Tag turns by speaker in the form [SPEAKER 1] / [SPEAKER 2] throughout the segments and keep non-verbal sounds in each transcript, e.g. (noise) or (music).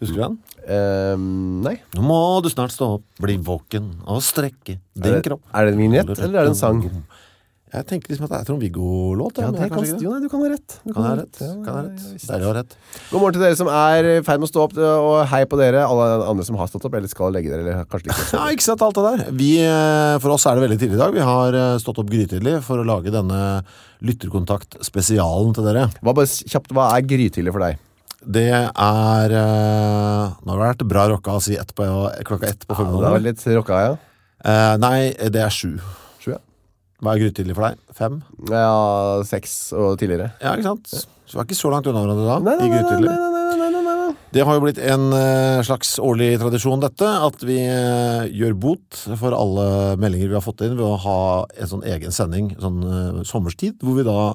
[SPEAKER 1] du den?
[SPEAKER 2] Eh, nei.
[SPEAKER 1] Nå må du snart stå opp, bli våken og strekke
[SPEAKER 2] Er
[SPEAKER 1] din
[SPEAKER 2] det,
[SPEAKER 1] kropp.
[SPEAKER 2] er det en vignett, eller er det en sang?
[SPEAKER 1] Jeg tenker liksom at det er Trond-Viggo-låt.
[SPEAKER 2] Ja,
[SPEAKER 1] men
[SPEAKER 2] det
[SPEAKER 1] jeg
[SPEAKER 2] kan,
[SPEAKER 1] kanskje ikke det.
[SPEAKER 2] jo, nei, du kan ha rett. Du
[SPEAKER 1] Kan jeg ha
[SPEAKER 2] ha
[SPEAKER 1] rett?
[SPEAKER 2] Ja,
[SPEAKER 1] Kan jeg ha
[SPEAKER 2] ja, ja,
[SPEAKER 1] rett?
[SPEAKER 2] visst.
[SPEAKER 1] Deilig å ha rett.
[SPEAKER 2] God morgen til dere som er i ferd med å stå opp, eh, og hei på dere, alle andre som har stått opp, eller skal legge dere, eller kanskje ikke.
[SPEAKER 1] Ja, ikke sant alt det der. Vi, eh, for oss er det veldig tidlig i dag. Vi har eh, stått opp grytidlig for å lage denne lytterkontakt-spesialen til dere.
[SPEAKER 2] Hva, bare kjapt, hva er grytidlig for deg?
[SPEAKER 1] Det er... eh, Nå har det vært bra rocka å si ett på, klokka ett på
[SPEAKER 2] Ja, det var
[SPEAKER 1] formiddagen.
[SPEAKER 2] litt rocka, ja.
[SPEAKER 1] Eh, nei, det er sju.
[SPEAKER 2] Sju, ja.
[SPEAKER 1] Hva er grytidlig for deg? Fem?
[SPEAKER 2] Ja, seks og tidligere.
[SPEAKER 1] Ja, ikke sant? Så vi er ikke så langt unna hverandre da, i
[SPEAKER 2] nei, nei,
[SPEAKER 1] grytidlig.
[SPEAKER 2] nei, nei, nei, nei, nei, nei.
[SPEAKER 1] Det har jo blitt en eh, slags årlig tradisjon dette, at vi eh, gjør bot for alle meldinger vi har fått inn ved å ha en sånn egen sending, sånn eh, sommerstid, hvor vi da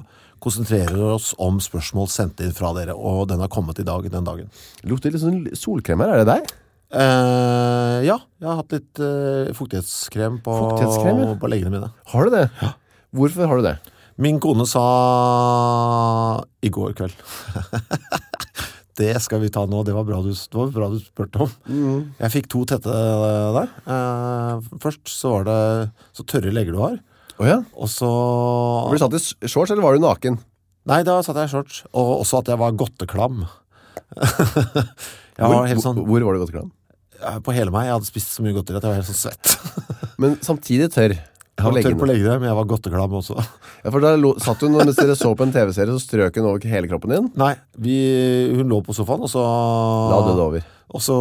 [SPEAKER 1] konsentrerer oss om spørsmål sendt inn fra dere, og den har kommet i dag den dagen.
[SPEAKER 2] Lukter litt sånn solkrem her, er det deg?
[SPEAKER 1] Eh, ja, jeg har hatt litt eh, fuktighetskrem på,
[SPEAKER 2] Fuktighetskrem, ja.
[SPEAKER 1] på leggene mine.
[SPEAKER 2] Har du det? Ja. Hvorfor har du det?
[SPEAKER 1] Min kone sa i går kveld. (laughs) det skal vi ta nå, det var bra du, det var bra du spurte om.
[SPEAKER 2] Mm.
[SPEAKER 1] Jeg fikk to tette eh, der. Eh, først så var det så tørre legger du har,
[SPEAKER 2] Åja.
[SPEAKER 1] og så...
[SPEAKER 2] Var du satt i s- shorts, eller var du naken?
[SPEAKER 1] Nei, da satt jeg i shorts, og også at jeg var godteklam. (laughs) jeg var helt sånn,
[SPEAKER 2] hvor, hvor var du godt klam?
[SPEAKER 1] eh, på hele meg, jeg hadde spist så mye godteri at jeg var helt sånn svett.
[SPEAKER 2] Men samtidig tørr.
[SPEAKER 1] Jeg
[SPEAKER 2] på
[SPEAKER 1] var tørr
[SPEAKER 2] leggene.
[SPEAKER 1] på leggene, men jeg var godteklam også.
[SPEAKER 2] Ja, for da lo, satt hun, mens dere så på en tv-serie, så strøk hun over hele kroppen din.
[SPEAKER 1] Nei, vi, hun lå på sofaen, og så...
[SPEAKER 2] La det
[SPEAKER 1] Ah.
[SPEAKER 2] over.
[SPEAKER 1] Og så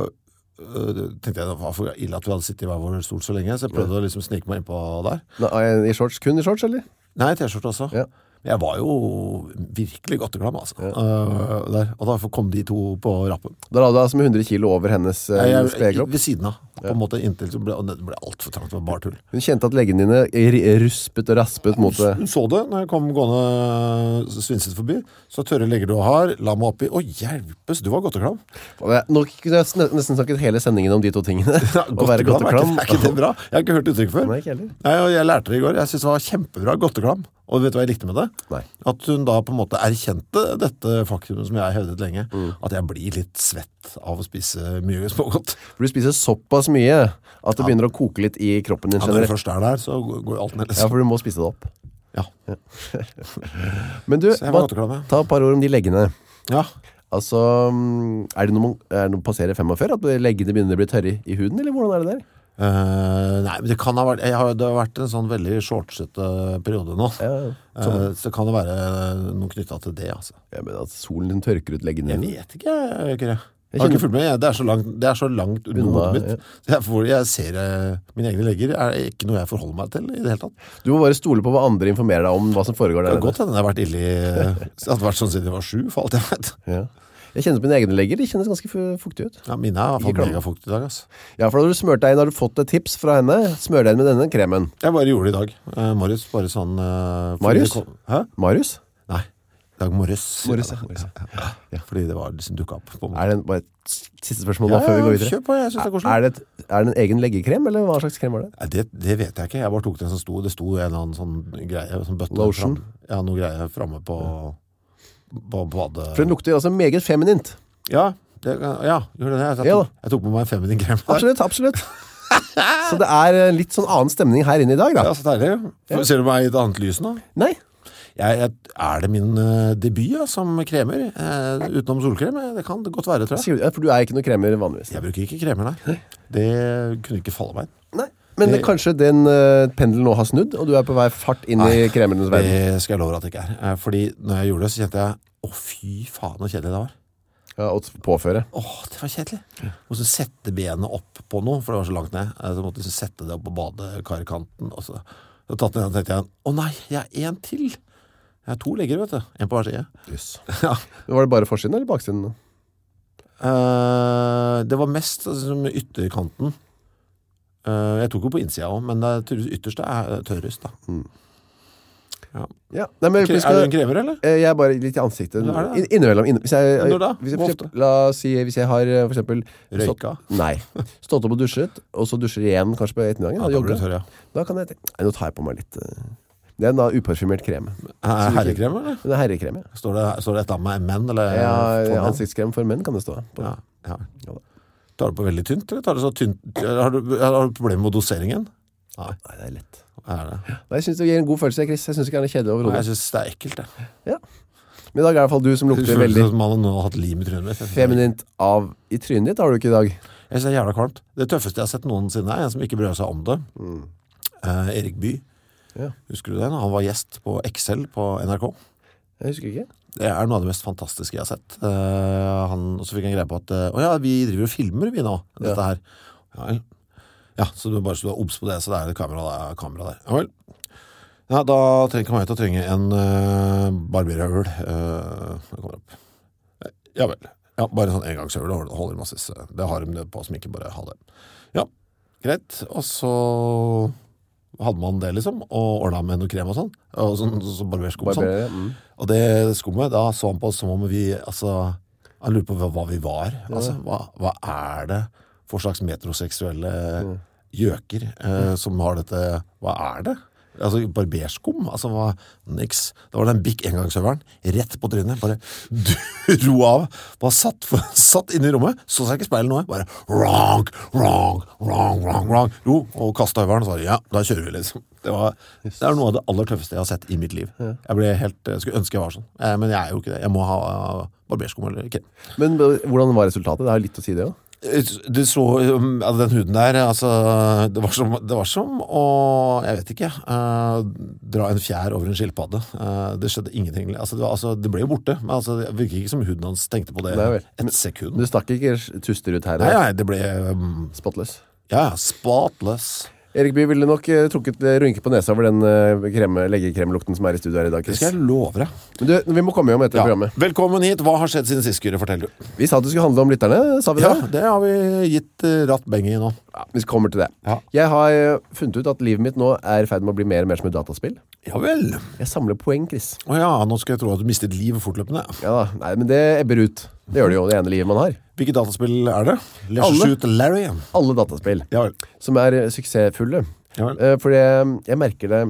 [SPEAKER 1] øh, tenkte jeg det var for ille at vi hadde sittet i hver vår stol så lenge, så jeg prøvde å liksom snike meg innpå der.
[SPEAKER 2] Nei, eh, I shorts, kun i shorts, eller?
[SPEAKER 1] Nei, T-skjorte også.
[SPEAKER 2] Ja.
[SPEAKER 1] Men jeg var jo virkelig godt og glam, altså. Øh, der. Og derfor kom de to på rappen.
[SPEAKER 2] Da la du deg som 100 kilo over hennes eh,
[SPEAKER 1] Jeg, jeg,
[SPEAKER 2] spede kropp.
[SPEAKER 1] ved siden av, på en måte inntil, så ble og det ble alt for trangt, det var bare tull.
[SPEAKER 2] Hun kjente at leggene dine ri- ruspet og raspet mot det.
[SPEAKER 1] Hun så det når jeg kom gående øh, svinset forbi, så tørre legger du har, la meg oppi, å hjelpes, du var godt og glam.
[SPEAKER 2] eh, Og jeg- Nå kunne jeg sn- nesten snakket hele sendingen om de to
[SPEAKER 1] (laughs)
[SPEAKER 2] tingene. Å være godt og
[SPEAKER 1] er ikke,
[SPEAKER 2] klam.
[SPEAKER 1] er
[SPEAKER 2] (laughs)
[SPEAKER 1] ikke det bra? Jeg har ikke hørt det uttrykk før.
[SPEAKER 2] Nei, ikke heller.
[SPEAKER 1] Nei, og jeg lærte det i går. Jeg synes det var kjempebra godteklam. Og vet du hva jeg likte med det?
[SPEAKER 2] Nei.
[SPEAKER 1] At hun da på en måte erkjente dette faktumet som jeg har hevdet lenge.
[SPEAKER 2] Mm.
[SPEAKER 1] At jeg blir litt svett av å spise mye smågodt.
[SPEAKER 2] For du spiser såpass mye at det begynner å koke litt i kroppen din
[SPEAKER 1] Ja, når du
[SPEAKER 2] generelt.
[SPEAKER 1] først er der, så går jo alt ned.
[SPEAKER 2] Ja,
[SPEAKER 1] Liksom.
[SPEAKER 2] for du må spise det opp.
[SPEAKER 1] Ja.
[SPEAKER 2] Men du,
[SPEAKER 1] Så jeg var
[SPEAKER 2] hva-
[SPEAKER 1] godteklam, ja.
[SPEAKER 2] ta et par ord om de leggene.
[SPEAKER 1] Ja.
[SPEAKER 2] Altså, mm, er det noe man er det noe man passerer 45, at leggene begynner å bli tørre i huden, eller hvordan er det der?
[SPEAKER 1] Eh, nei, men det kan ha vært jeg har, Det har vært en sånn veldig shortsete periode nå
[SPEAKER 2] Ja, Sånn.
[SPEAKER 1] Eh, Så kan det være noe knyttet til det altså.
[SPEAKER 2] ja men at solen din tørker ut leggene
[SPEAKER 1] Jeg
[SPEAKER 2] dine.
[SPEAKER 1] vet ikke, jeg, jeg, jeg har ikke fulgt med jeg, det, er så langt, det er så langt under
[SPEAKER 2] Unna,
[SPEAKER 1] hodet mitt Så jeg, får, jeg ser eh, mine egne legger Er ikke noe jeg forholder meg til i det hele tatt Det
[SPEAKER 2] Du må bare stole på hva andre informerer deg om hva som foregår der
[SPEAKER 1] er godt at den har vært ille i- Det hadde vært sånn siden jeg var sju, for alt jeg vet
[SPEAKER 2] Ja. Jeg kjenner på mine egne legger, de kjennes ganske fu- fuktige ut.
[SPEAKER 1] ja, Mine er i hvert
[SPEAKER 2] Ikke
[SPEAKER 1] fall
[SPEAKER 2] klam.
[SPEAKER 1] megafukt i dag ass.
[SPEAKER 2] Ja, for da har du smørt deg inn, har du fått et tips fra henne, smør deg inn med denne kremen.
[SPEAKER 1] Jeg bare gjorde det i dag eh, Marius, bare sånn eh, fordi
[SPEAKER 2] Marius?
[SPEAKER 1] det kom- Hæ?
[SPEAKER 2] Marius?
[SPEAKER 1] Nei, i dag Morris
[SPEAKER 2] Morris,
[SPEAKER 1] ja,
[SPEAKER 2] ja, Morris,
[SPEAKER 1] ja. Fordi det var liksom dukket opp på en måte.
[SPEAKER 2] Er det en, bare et s- siste spørsmål
[SPEAKER 1] Ja,
[SPEAKER 2] da, før vi
[SPEAKER 1] ja,
[SPEAKER 2] går videre?
[SPEAKER 1] kjør på, jeg synes det er koselig.
[SPEAKER 2] Er det, et, er det en egen leggekrem, eller hva slags krem var det?
[SPEAKER 1] Nei, det, det vet jeg ikke. Jeg bare tok det som sto. Det sto en eller annen sånn greie. Sånn bøtte
[SPEAKER 2] Lotion?
[SPEAKER 1] fram- Ja, noe greie framme på, på badet.
[SPEAKER 2] For den lukter altså meget feminint.
[SPEAKER 1] Ja, det, ja, gjorde det. Jeg, jeg,
[SPEAKER 2] Ja da.
[SPEAKER 1] tok, jeg tok på meg en feminin krem der.
[SPEAKER 2] Absolutt, absolutt. Så det er eh, litt sånn annen stemning her inne i dag, da.
[SPEAKER 1] (laughs) Ja, så deilig. Får- Ser du meg i et annet lys nå?
[SPEAKER 2] Nei?
[SPEAKER 1] Jeg, jeg, er det min eh, debut ja, som kremer? Eh, utenom solkrem? Eh, Det kan det godt være, tror jeg.
[SPEAKER 2] Sier du- ja, For du er ikke noen kremer vanligvis.
[SPEAKER 1] Jeg bruker ikke kremer, nei. Det kunne ikke falle meg inn.
[SPEAKER 2] Nei. Men det, kanskje den eh, pendelen nå har snudd, og du er på vei fart inn i kremernes verden.
[SPEAKER 1] Det skal jeg love at det ikke er. Eh, Fordi når jeg gjorde det, så kjente jeg å, fy faen, så kjedelig det var.
[SPEAKER 2] Ja, og påføre.
[SPEAKER 1] Åh, det var kjedelig Og så sette benet opp på noe For det var så langt ned Eh, Så måtte jeg liksom sette det opp på badekarkanten Og så så tatt den igjen og tenkte jeg Å nei, jeg er en til Jeg har to legger, vet du En på hver side (laughs)
[SPEAKER 2] Yes.
[SPEAKER 1] ja.
[SPEAKER 2] Men Var det bare forsiden eller baksiden? da?
[SPEAKER 1] Eh, Det var mest altså, som ytterkanten Eh, Jeg tok jo på innsida også Men det er tydeligvis ytterste er eh, tørrest da
[SPEAKER 2] Ja. Nei, men
[SPEAKER 1] Kre- Er
[SPEAKER 2] vi
[SPEAKER 1] du
[SPEAKER 2] skal,
[SPEAKER 1] en krever, eller?
[SPEAKER 2] Eh, jeg er bare litt i ansiktet.
[SPEAKER 1] Ja, er det?
[SPEAKER 2] Inn- Innimellom. inn- hvis jeg, eh,
[SPEAKER 1] Når da?
[SPEAKER 2] Hvis jeg,
[SPEAKER 1] Hvor
[SPEAKER 2] for
[SPEAKER 1] ofte?
[SPEAKER 2] eksempel- la oss si hvis jeg har eh, for eksempel
[SPEAKER 1] Røyka?
[SPEAKER 2] Stått, nei. Stått opp og dusjet, og så dusjer igjen kanskje på ettermiddagen.
[SPEAKER 1] Ja,
[SPEAKER 2] og
[SPEAKER 1] da blir
[SPEAKER 2] jogger.
[SPEAKER 1] du tørr, ja
[SPEAKER 2] Da kan jeg tenke Nei, nå tar jeg på meg litt eh, Det er en da uparfymert krem.
[SPEAKER 1] Er Eh, herrekremer, eller?
[SPEAKER 2] Det er herrekrem, ja.
[SPEAKER 1] Står det, står det et av meg menn, eller?
[SPEAKER 2] ja
[SPEAKER 1] for menn?
[SPEAKER 2] ansiktskrem for menn kan det stå. på.
[SPEAKER 1] Ja. Ja.
[SPEAKER 2] Ja da.
[SPEAKER 1] Tar du på veldig tynt, eller tar du så tynt? Har du, har du problemer med doseringen? Nei,
[SPEAKER 2] Nei, det er lett.
[SPEAKER 1] er det.
[SPEAKER 2] Nei, jeg synes det gir en god følelse, Chris. Jeg synes ikke det er noe kjedelig
[SPEAKER 1] Nei,
[SPEAKER 2] overhodet.
[SPEAKER 1] jeg synes det er ekkelt, det.
[SPEAKER 2] Men i dag er det i hvert fall du som
[SPEAKER 1] Det
[SPEAKER 2] lukter
[SPEAKER 1] føles
[SPEAKER 2] veldig
[SPEAKER 1] som om man nå har hatt lim i trynet mitt. Jeg synes det er-
[SPEAKER 2] feminint av i trynet ditt, har du ikke i dag?
[SPEAKER 1] Jeg synes det er jævla kvalmt. Det tøffeste jeg har sett noensinne er en som ikke bryr seg om det. Eh, Erik By.
[SPEAKER 2] Mm. Ja.
[SPEAKER 1] Husker du det? Han var gjest på Excel på NRK.
[SPEAKER 2] Jeg husker ikke.
[SPEAKER 1] Det er noe av det mest fantastiske jeg har sett. Eh, han, og så fikk han greie på at eh, Å ja, vi driver og filmer vi nå, dette
[SPEAKER 2] Ja.
[SPEAKER 1] her. Ja, vel. ja, så du bare så du er obs på det, så det er et kamera der. Kamera der. Ja vel. Ja, da trenger ikke man til å trenge en uh, barberhøvel. eh, den kommer opp. Eh, Ja vel. Ja, bare en sånn engangshøvel. Det holder- holder massevis. Det har de på som ikke bare har det. Ja, greit. Og så hadde man det, liksom. Og ordna med noe krem og sånn. Og sånn, så barbersko og sånn.
[SPEAKER 2] Barberer, mm.
[SPEAKER 1] Og det skummet, da så han på oss som om vi, altså, han lurte på hva, hva vi var. Altså, hva, hva er det for slags metroseksuelle gjøker eh, som har dette, hva er det? Altså, barberskum, altså, hva, niks. Da var det en bikk engangshøveren, rett på trynet, bare (laughs) dro av, bare satt, for, (laughs) satt inne i rommet, så seg ikke i speilet noe, bare wrong, wrong, wrong, wrong, wrong, ro, og kastet høveren, og sa, ja, da kjører vi, liksom. Det, var, det er noe av det aller tøffeste jeg har sett i mitt liv. Jeg ble helt, jeg skulle ønske jeg var sånn, eh, men jeg er jo ikke det. Jeg må ha barberskum eller krem.
[SPEAKER 2] Men eh, hvordan var resultatet? Det har jo litt å si det også.
[SPEAKER 1] Du så um, altså, den huden der, altså, det var som, det var som å, jeg vet ikke, eh, dra en fjær over en skilpadde. Eh, det skjedde ingenting. Altså, det, var, altså, det ble jo borte, men altså, det virker ikke som huden hans tenkte på det
[SPEAKER 2] Nei vel. Men-
[SPEAKER 1] et sekund.
[SPEAKER 2] Du stakk ikke s- tuster ut her?
[SPEAKER 1] Nei,
[SPEAKER 2] eller?
[SPEAKER 1] nei, det ble, um,
[SPEAKER 2] Spotless.
[SPEAKER 1] ja, ja, spotless.
[SPEAKER 2] Erik Bye ville nok eh, trukket eh, rynke på nesa over den eh, kreme, leggekremlukten som er i studio her i dag,
[SPEAKER 1] Det
[SPEAKER 2] Chris.
[SPEAKER 1] skal jeg love deg.
[SPEAKER 2] Men du, vi må komme hjem etter
[SPEAKER 1] Ja.
[SPEAKER 2] programmet.
[SPEAKER 1] Velkommen hit. Hva har skjedd siden sist, Kyrre? Fortell du.
[SPEAKER 2] Vi sa at det skulle handle om lytterne, sa vi
[SPEAKER 1] Ja,
[SPEAKER 2] det?
[SPEAKER 1] det har vi gitt eh, ratt benge i nå.
[SPEAKER 2] Ja, vi kommer til det.
[SPEAKER 1] Ja.
[SPEAKER 2] Jeg har eh, funnet ut at livet mitt nå er i ferd med å bli mer og mer som et dataspill.
[SPEAKER 1] Ja vel.
[SPEAKER 2] Jeg samler poeng, Chris.
[SPEAKER 1] Å ja, nå skal jeg tro at du mistet livet fortløpende.
[SPEAKER 2] Ja da, nei, men det ebber ut. Det gjør det jo, det ene livet man har.
[SPEAKER 1] Hvilket dataspill er det? Let's
[SPEAKER 2] Alle.
[SPEAKER 1] shoot Larry.
[SPEAKER 2] Alle dataspill
[SPEAKER 1] Ja vel.
[SPEAKER 2] som er eh, suksessfulle.
[SPEAKER 1] Ja vel.
[SPEAKER 2] Eh, For jeg, jeg merker det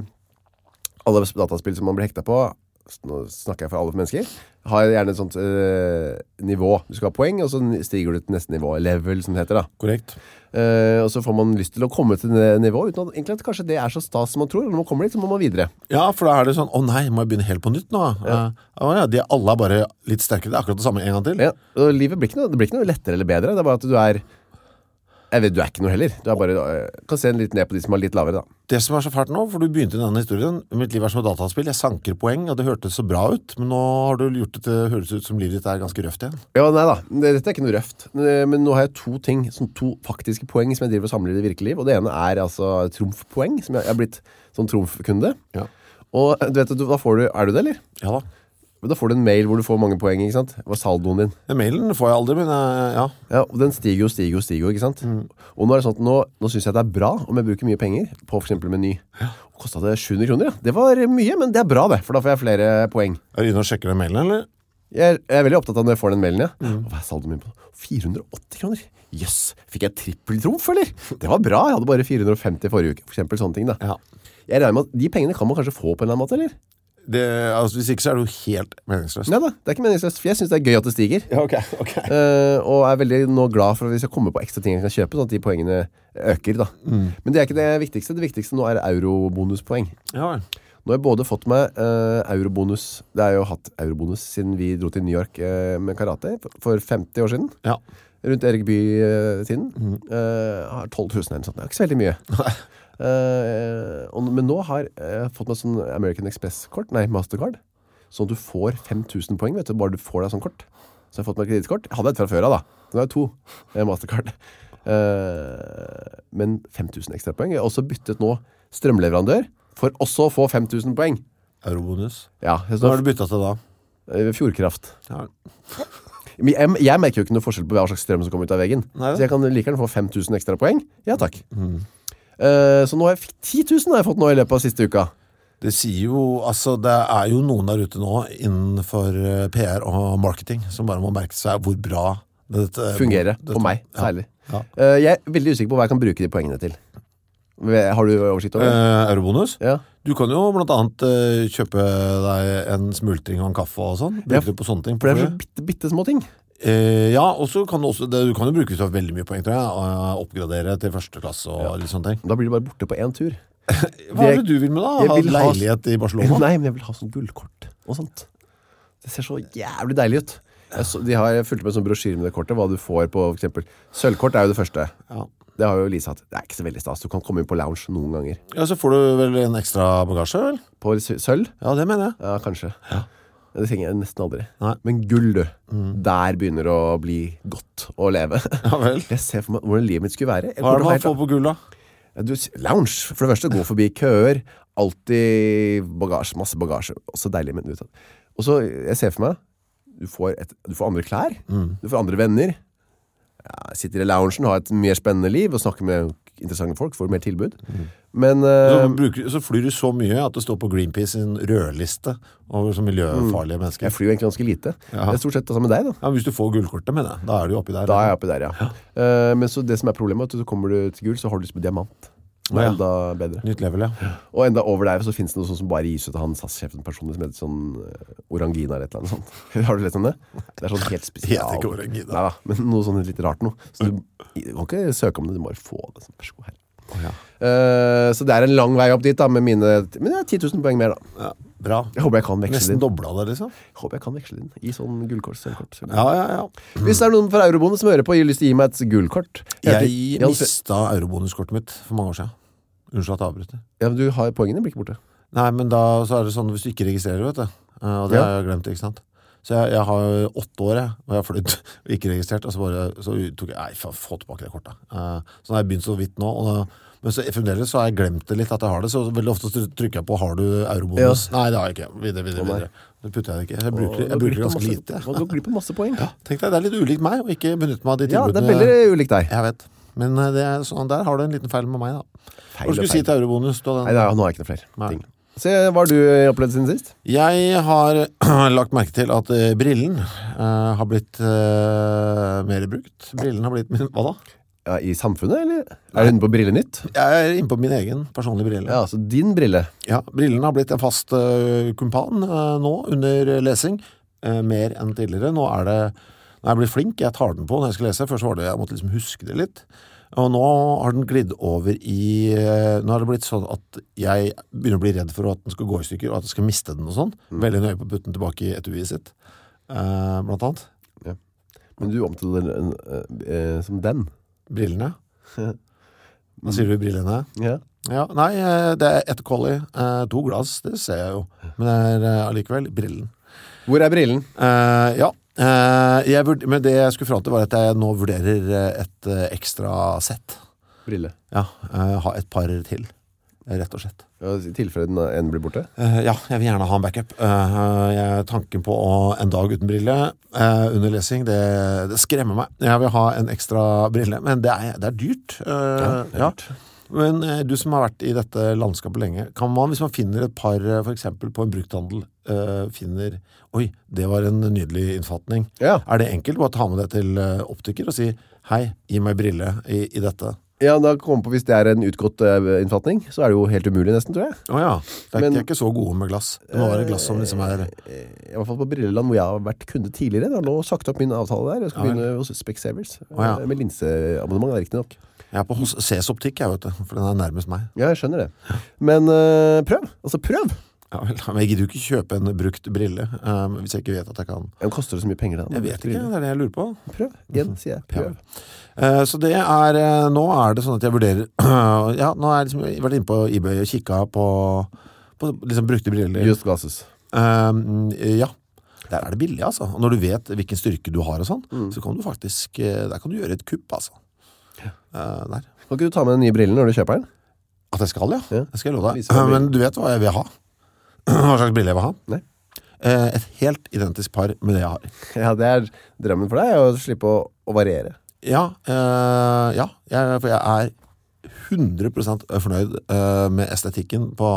[SPEAKER 2] Alle dataspill som man blir hekta på s- Nå snakker jeg for alle mennesker Har gjerne et sånt eh, nivå Du skal ha poeng, og så n- stiger du til neste nivå Level, som det heter da
[SPEAKER 1] Korrekt.
[SPEAKER 2] Eh, Og så får man lyst til å komme til det nivået Uten at egentlig at kanskje det er så stas som man tror og Når man kommer dit, så må man videre
[SPEAKER 1] Ja, for da er det sånn, å nei, må jeg begynne helt på nytt nå? Ja. å ja, de alle er bare litt sterkere, det er akkurat det samme en gang til.
[SPEAKER 2] ja, Og livet blir ikke, noe, det blir ikke noe lettere eller bedre Det er bare at du er Jeg vet, du er ikke noe heller Du er bare, eh, kan se litt ned på de som er litt lavere da
[SPEAKER 1] Det som er så fælt nå, for du begynte denne historien, mitt liv er som et dataspill, jeg sanker poeng, og det hørtes så bra ut, men nå har du gjort det til, høres ut som livet ditt er ganske røft igjen.
[SPEAKER 2] Ja, nei da, det- dette er ikke noe røft Eh, Men nå har jeg to ting, sånn to faktiske poeng Som jeg driver og samler i det virkelige liv Og det ene er altså tromfpoeng Som jeg, jeg har blitt sånn tromfkunde
[SPEAKER 1] Ja.
[SPEAKER 2] Og eh, du vet, at du- da får du, er du det eller?
[SPEAKER 1] Ja da.
[SPEAKER 2] Men Da får du en mail hvor du får mange poeng, ikke sant? Hva er saldoen din?
[SPEAKER 1] Den mailen får jeg aldri, men eh, ja.
[SPEAKER 2] Ja, og den stiger jo, stiger jo, stiger jo, ikke sant? Og nå er det sånn at nå, nå synes jeg det er bra Om jeg bruker mye penger på for eksempel meny Og kostet det 700 kroner, ja Det var mye, men det er bra det For da får jeg flere poeng
[SPEAKER 1] Er du inne og sjekker den mailen, eller?
[SPEAKER 2] Jeg er, jeg er veldig opptatt av når jeg får den mailen, ja. Og Hva er saldoen min på? 480 kroner. Jøss, fikk jeg trippeltrumf, eller? Det var bra, jeg hadde bare 450 forrige uke. For eksempel sånne ting, da.
[SPEAKER 1] Ja.
[SPEAKER 2] Jeg regner med at de pengene kan man kanskje få på en eller annen måte, eller?
[SPEAKER 1] Det, altså, hvis ikke så er det jo helt meningsløst.
[SPEAKER 2] Nei da, det er ikke meningsløst, for jeg synes det er gøy at det stiger.
[SPEAKER 1] Ja, ok, ok.
[SPEAKER 2] Eh, og er veldig nå glad for hvis jeg kommer på ekstra ting jeg kan kjøpe, sånn at de poengene øker, da. Men det er ikke det viktigste. Det viktigste nå er eurobonuspoeng.
[SPEAKER 1] Ja vel.
[SPEAKER 2] Nå har jeg både fått meg eh, eurobonus, det har jeg jo hatt eurobonus siden vi dro til New York eh, med karate for- for 50 år siden.
[SPEAKER 1] Ja.
[SPEAKER 2] rundt Erik By-tiden
[SPEAKER 1] Mhm.
[SPEAKER 2] har 12 000 eller noe sånt. Det er ikke så
[SPEAKER 1] (laughs)
[SPEAKER 2] veldig mye. Eh, og, men nå har jeg fått meg sånn American Express-kort, nei, Mastercard, sånn at du får 5000 poeng, vet du, bare du får deg sånn kort. Så jeg har fått meg kreditkort. Jeg hadde et fra før av da. Nå har jeg to eh, Mastercard. Eh, men 5000 ekstra poeng. Jeg har også byttet nå strømleverandør for også å få 5000 poeng.
[SPEAKER 1] Eurobonus.
[SPEAKER 2] Ja,
[SPEAKER 1] Hva
[SPEAKER 2] jeg
[SPEAKER 1] har
[SPEAKER 2] står
[SPEAKER 1] du byttet til da?
[SPEAKER 2] eh, Fjordkraft.
[SPEAKER 1] Ja. vel.
[SPEAKER 2] Men Jeg, jeg merker jo ikke noe forskjell på hva slags strøm som kommer ut av veggen.
[SPEAKER 1] Nei da. Mm.
[SPEAKER 2] så jeg kan like gjerne få 5000 ekstra poeng. Ja, takk. Eh, så nå har jeg fikk 10 000 har jeg fått nå i løpet av siste uka.
[SPEAKER 1] Det sier jo, altså det er jo noen der ute nå innenfor eh, PR og marketing som bare må merke seg hvor bra dette eh,
[SPEAKER 2] Fungerer.
[SPEAKER 1] dette-
[SPEAKER 2] på meg,
[SPEAKER 1] Ja.
[SPEAKER 2] særlig.
[SPEAKER 1] Ja.
[SPEAKER 2] Eh, jeg er veldig usikker på hva jeg kan bruke de poengene til. Har du oversikt over det?
[SPEAKER 1] Eh, Eurobonus.
[SPEAKER 2] ja.
[SPEAKER 1] Du kan jo blant annet eh, kjøpe deg en smultring og en kaffe og sånn.
[SPEAKER 2] Ja,
[SPEAKER 1] Bruker du på sånne ting?
[SPEAKER 2] For det er
[SPEAKER 1] På
[SPEAKER 2] så bitte, bitte små ting.
[SPEAKER 1] flyet? Eh, ja, og så kan du også, det, du kan jo bruke det til veldig mye poeng, tror jeg. og eh, Oppgradere til første klasse og litt sånne ting.
[SPEAKER 2] Da blir du bare borte på én tur.
[SPEAKER 1] Hva er det du vil med da?
[SPEAKER 2] jeg
[SPEAKER 1] Ha
[SPEAKER 2] vil ha-
[SPEAKER 1] leilighet i Barcelona?
[SPEAKER 2] (laughs) Nei, men jeg vil ha sånn gullkort og sånt. Det ser så jævlig deilig ut. Jeg så, de har fulgt med en sånn brosjyr med det kortet, hva du får på for eksempel. Sølvkort er jo det første.
[SPEAKER 1] Ja.
[SPEAKER 2] Det har jo Lisa hatt. Det er ikke så veldig stas. Du kan komme inn på lounge noen ganger.
[SPEAKER 1] ja, så får du vel en ekstra bagasje, vel?
[SPEAKER 2] På sø- sølv?
[SPEAKER 1] Ja, det mener jeg.
[SPEAKER 2] Ja, kanskje. Det trenger jeg nesten aldri.
[SPEAKER 1] Nei. Mm.
[SPEAKER 2] Men gull, du. Der begynner det å bli godt å
[SPEAKER 1] (laughs)
[SPEAKER 2] leve.
[SPEAKER 1] Ja vel.
[SPEAKER 2] Jeg ser for meg hvordan livet mitt skulle være. Jeg
[SPEAKER 1] Hva er det
[SPEAKER 2] kommer
[SPEAKER 1] man
[SPEAKER 2] helt-
[SPEAKER 1] får på gull, da?
[SPEAKER 2] Ja, Du, lounge, for det første, gå forbi køer, alltid bagasje, masse bagasje, også deilig, men utad. Og så, jeg ser for meg, du får, et, du får andre klær,
[SPEAKER 1] Mm.
[SPEAKER 2] du får andre venner, ja, sitter i loungen, har et mer spennende liv, og snakker med interessante folk, får mer tilbud. Men,
[SPEAKER 1] Mm. Så,
[SPEAKER 2] eh,
[SPEAKER 1] bruker, så flyr du så mye at det står på Greenpeace sin rødliste over så miljøfarlige mennesker.
[SPEAKER 2] jeg flyr jo egentlig ganske lite.
[SPEAKER 1] Ja.
[SPEAKER 2] Det er stort sett det samme med deg, da.
[SPEAKER 1] Ja, men Hvis du får gullkortet, mener jeg. Da er du jo oppi der.
[SPEAKER 2] Da er jeg oppe der, ja. Eh, men så det som er problemet, er at så kommer du til gul, så har du lyst på diamant. Det er
[SPEAKER 1] Ja.
[SPEAKER 2] enda bedre.
[SPEAKER 1] Nytt level, ja.
[SPEAKER 2] Og enda over der så finnes det noe sånt som bare gis ut av han SAS-sjefen personlig som heter sånn eh, Orangina eller et eller annet sånt. (laughs) Har du lest om det? Det er sånn helt spesial.
[SPEAKER 1] Heter ikke Orangina. Mm.
[SPEAKER 2] Neida, men noe sånn litt rart noe. Så du, du kan ikke søke om det, du må bare få det. Sånn, vær så god her.
[SPEAKER 1] ja.
[SPEAKER 2] Eh, så det er en lang vei opp dit da, med mine, men det er 10 000 poeng mer da.
[SPEAKER 1] ja. Bra.
[SPEAKER 2] Jeg håper jeg kan veksle
[SPEAKER 1] Nesten
[SPEAKER 2] det inn.
[SPEAKER 1] dobla det, liksom.
[SPEAKER 2] Jeg håper jeg kan veksle det inn i sånn gullkort, sølvkort. sølvkort.
[SPEAKER 1] Ja, ja, ja.
[SPEAKER 2] Hvis det er noen fra Eurobonde som hører på og gir lyst til å gi meg et gullkort. heter-
[SPEAKER 1] Jeg
[SPEAKER 2] Jan Fre-
[SPEAKER 1] mista eurobonuskortet mitt for mange år siden. Unnskyld at jeg avbryter.
[SPEAKER 2] Ja, men du har poengene blir ikke borte.
[SPEAKER 1] Nei, men da så er det sånn hvis du ikke registrerer, vet du. Eh, Og det
[SPEAKER 2] Ja.
[SPEAKER 1] har jeg glemt, ikke sant. Så jeg, jeg har jo åtte år, jeg, og jeg har flydd (laughs) og ikke registrert. Og så bare så tok jeg Nei, faen, få tilbake det kortet. Eh, Så nå har jeg begynt så vidt nå. Og da, men så, fremdeles så har jeg glemt det litt, at jeg har det. Så veldig ofte så trykker jeg på 'Har du eurobonus?' Nei, det har jeg ikke. Videre, videre,
[SPEAKER 2] Å, nei.
[SPEAKER 1] videre. Så putter jeg det ikke. Jeg bruker,
[SPEAKER 2] Og
[SPEAKER 1] jeg
[SPEAKER 2] du
[SPEAKER 1] bruker
[SPEAKER 2] glipper
[SPEAKER 1] ganske
[SPEAKER 2] masse-
[SPEAKER 1] lite. jeg.
[SPEAKER 2] Og du glipper masse poeng. Ja,
[SPEAKER 1] Tenk deg, det er litt ulikt meg å ikke benytte meg av de
[SPEAKER 2] det
[SPEAKER 1] tilbudene.
[SPEAKER 2] er veldig ulikt deg.
[SPEAKER 1] Jeg vet. Men eh, det er sånn, der har du en liten feil med meg, da.
[SPEAKER 2] Feil
[SPEAKER 1] Hva
[SPEAKER 2] og
[SPEAKER 1] skulle du
[SPEAKER 2] feil.
[SPEAKER 1] si til eurobonus? Du hadde
[SPEAKER 2] Nei,
[SPEAKER 1] en...
[SPEAKER 2] nei, nå har jeg ikke noe flere
[SPEAKER 1] Sånn. Nei.
[SPEAKER 2] ting. Se, hva har du opplevd siden sist?
[SPEAKER 1] Jeg har (clears throat) lagt merke til at eh, brillen eh, har blitt eh, mer brukt. Brillen har blitt min Hva da?
[SPEAKER 2] Ja, I samfunnet, eller? Er du inne på Brillenytt?
[SPEAKER 1] Jeg er inne på min egen personlige brille.
[SPEAKER 2] Ja, altså din brille.
[SPEAKER 1] Ja, brillen har blitt en fast eh, kumpan eh, nå under lesing, eh, mer enn tidligere. Nå er det, når jeg blir flink, jeg tar den på når jeg skal lese. Først var det, jeg måtte liksom huske det litt. Og nå har den glidd over i, eh, nå har det blitt sånn at jeg begynner å bli redd for at den skal gå i stykker, og at jeg skal miste den og sånn. Veldig nøye på å putte den tilbake i etuiet sitt, eh, blant annet.
[SPEAKER 2] Men du omtaler den eh, eh, som den.
[SPEAKER 1] Brillene. Hva sier du i brillene?
[SPEAKER 2] Ja.
[SPEAKER 1] Ja, nei, eh, det er ett kolli, eh, to glass, det ser jeg jo. Men det er eh, allikevel brillen.
[SPEAKER 2] Hvor er brillen?
[SPEAKER 1] Eh, ja. Eh, jeg vurd- men det jeg skulle fram til var at jeg nå vurderer eh, et eh, ekstra sett.
[SPEAKER 2] Brille.
[SPEAKER 1] Ja, eh, ha et par til, eh, rett og slett.
[SPEAKER 2] Ja, I tilfelle den en blir borte.
[SPEAKER 1] Eh, ja, jeg vil gjerne ha en backup. Eh, jeg, tanken på å, en dag uten brille eh, under lesing, det, det skremmer meg. Jeg vil ha en ekstra brille, men det er, det er dyrt. Eh,
[SPEAKER 2] det er
[SPEAKER 1] ja. Men eh, du som har vært i dette landskapet lenge, kan man, hvis man finner et par, eh, for eksempel på en brukthandel, eh, finner, oi, det var en nydelig innfatning.
[SPEAKER 2] Ja.
[SPEAKER 1] Er det enkelt bare å ta med det til eh, optiker og si Hei, gi meg brille i, i dette
[SPEAKER 2] Ja, da kom på hvis det er en utgått eh, innfatning, så er det jo helt umulig nesten, tror jeg.
[SPEAKER 1] Åja, det er,
[SPEAKER 2] Men-
[SPEAKER 1] de er ikke så gode med glass Det må være glass som liksom er
[SPEAKER 2] Eh, I hvert fall på Brilleland, hvor jeg har vært kunde tidligere. Det har nå sagt opp min avtale der. Jeg skal
[SPEAKER 1] Ja, vel.
[SPEAKER 2] begynne hos Specsavers.
[SPEAKER 1] ja.
[SPEAKER 2] eh, Med linseabonnement, det er riktig nok.
[SPEAKER 1] Jeg er på hos CS Optikk, jeg vet du For den er nærmest meg
[SPEAKER 2] Ja, jeg skjønner det. Men eh, prøv. Altså, prøv.
[SPEAKER 1] ja, vel, Men jeg gidder jo ikke kjøpe en brukt brille eh, Hvis jeg ikke vet at jeg kan
[SPEAKER 2] Ja, men koster det så mye penger da?
[SPEAKER 1] Jeg vet ikke, det er det jeg lurer på
[SPEAKER 2] Prøv, igjen sier jeg, prøv.
[SPEAKER 1] Eh, Så det er, eh, nå er det sånn at jeg vurderer (clears throat) Ja, nå har jeg liksom vært inne på eBay og kikket på, på liksom brukte briller
[SPEAKER 2] Used glasses.
[SPEAKER 1] Eh, Ja der er det billig altså Og når du vet hvilken styrke du har og sånn
[SPEAKER 2] Mm.
[SPEAKER 1] Så kan du faktisk, eh, der kan du gjøre et kupp altså Eh, Der
[SPEAKER 2] Kan ikke du ta med den nye brillen når du kjøper den?
[SPEAKER 1] At jeg skal ja,
[SPEAKER 2] Ja.
[SPEAKER 1] det skal jeg love
[SPEAKER 2] Viser
[SPEAKER 1] deg Eh,
[SPEAKER 2] meg brillen.
[SPEAKER 1] Men du vet hva jeg vil ha (clears throat) Hva slags brille jeg vil ha
[SPEAKER 2] Nei.
[SPEAKER 1] Eh, Et helt identisk par med det jeg har
[SPEAKER 2] (laughs) Ja, det er drømmen for deg, å slippe å, å variere.
[SPEAKER 1] Ja, eh, ja jeg, for jeg er 100% fornøyd eh, med estetikken på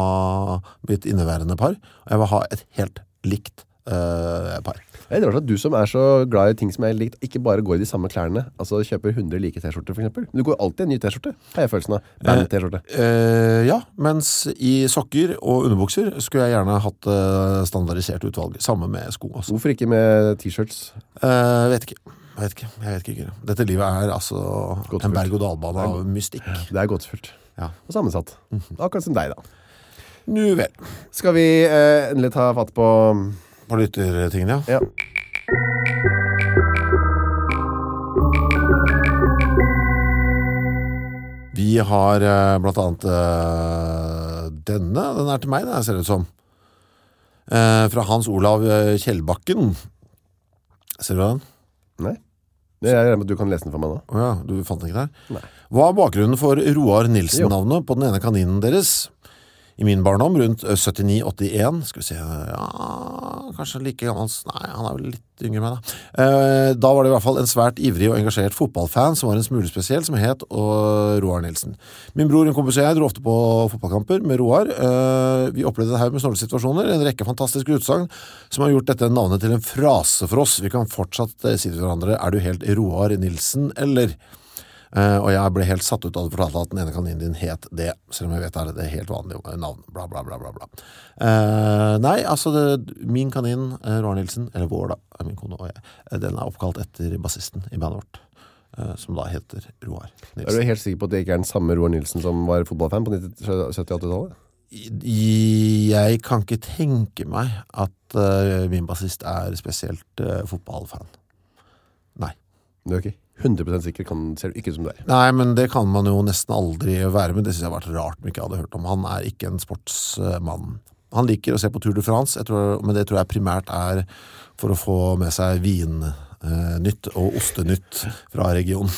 [SPEAKER 1] mitt inneværende par Og jeg vil ha et helt likt eh, par
[SPEAKER 2] Ja, Det er litt rart at du som er så glad i ting som er likt, ikke bare går i de samme klærne, altså kjøper 100 like T-skjorter for eksempel. Men du går alltid i en ny T-skjorte, har jeg følelsen av. Band T-skjorte.
[SPEAKER 1] Eh, ja, mens i sokker og underbukser skulle jeg gjerne hatt eh, standardisert utvalg, sammen med sko også.
[SPEAKER 2] Hvorfor ikke med t-shirts?
[SPEAKER 1] Eh, vet ikke. Jeg vet ikke, jeg vet ikke. Kyrre. Dette livet er altså
[SPEAKER 2] Godt
[SPEAKER 1] en
[SPEAKER 2] fulgt.
[SPEAKER 1] berg-og-dal-bane av mystikk.
[SPEAKER 2] Det er gåtefullt.
[SPEAKER 1] Ja.
[SPEAKER 2] Og sammensatt. Akkurat som deg da.
[SPEAKER 1] Nu vel.
[SPEAKER 2] Mhm. Skal vi eh, endelig ta fatt på...
[SPEAKER 1] På lyttertingene, ja.
[SPEAKER 2] Ja.
[SPEAKER 1] Vi har eh, blant annet eh, denne. Den er til meg, den her, ser det ut som. Eh, fra Hans Olav eh, Kjellbakken. Ser du den?
[SPEAKER 2] Nei. Jeg regner med at du kan lese den for meg nå.
[SPEAKER 1] Å ja, du fant den ikke der?
[SPEAKER 2] Nei.
[SPEAKER 1] Hva er bakgrunnen for Roar Nilsen-navnet på den ene kaninen deres? I min barndom, rundt 79-81, skal vi se, ja, kanskje like gammel, nei, han er vel litt yngre enn meg da. Eh, da var det i hvert fall en svært ivrig og engasjert fotballfan som var en smule spesiell, som het og Roar Nilsen. Min bror, en kompis og jeg, dro ofte på fotballkamper med Roar. Eh, vi opplevde en haug med snåle situasjoner, en rekke fantastiske utsagn, som har gjort dette navnet til en frase for oss. Vi kan fortsatt eh, si til hverandre, er du helt Roar Nilsen, eller? Eh, og jeg ble helt satt ut av det fortalte at den ene kaninen din het det, selv om jeg vet det er det helt vanlige navn, bla bla bla bla bla. Eh, nei, altså, det, min kanin, eh, Roar Nilsen, eller vår da, er min kone og jeg, eh, den er oppkalt etter bassisten i bandet vårt, eh, som da heter Roar
[SPEAKER 2] Er
[SPEAKER 1] Nilsen.
[SPEAKER 2] du helt sikker på at det ikke er den samme Roar Nilsen som var fotballfan på 70-80-tallet?
[SPEAKER 1] I- Jeg kan ikke tenke meg at eh, min bassist er spesielt eh, fotballfan. Nei.
[SPEAKER 2] Du er ikke 100% sikker, kan, ser du ikke ut som du er.
[SPEAKER 1] Nei, men det kan man jo nesten aldri være med. Det synes jeg har vært rart om jeg ikke hadde hørt om. Han er ikke en sportsmann. Han liker å se på Tour de France, jeg tror, men det tror jeg primært er for å få med seg vinnytt og ostenytt fra regionen.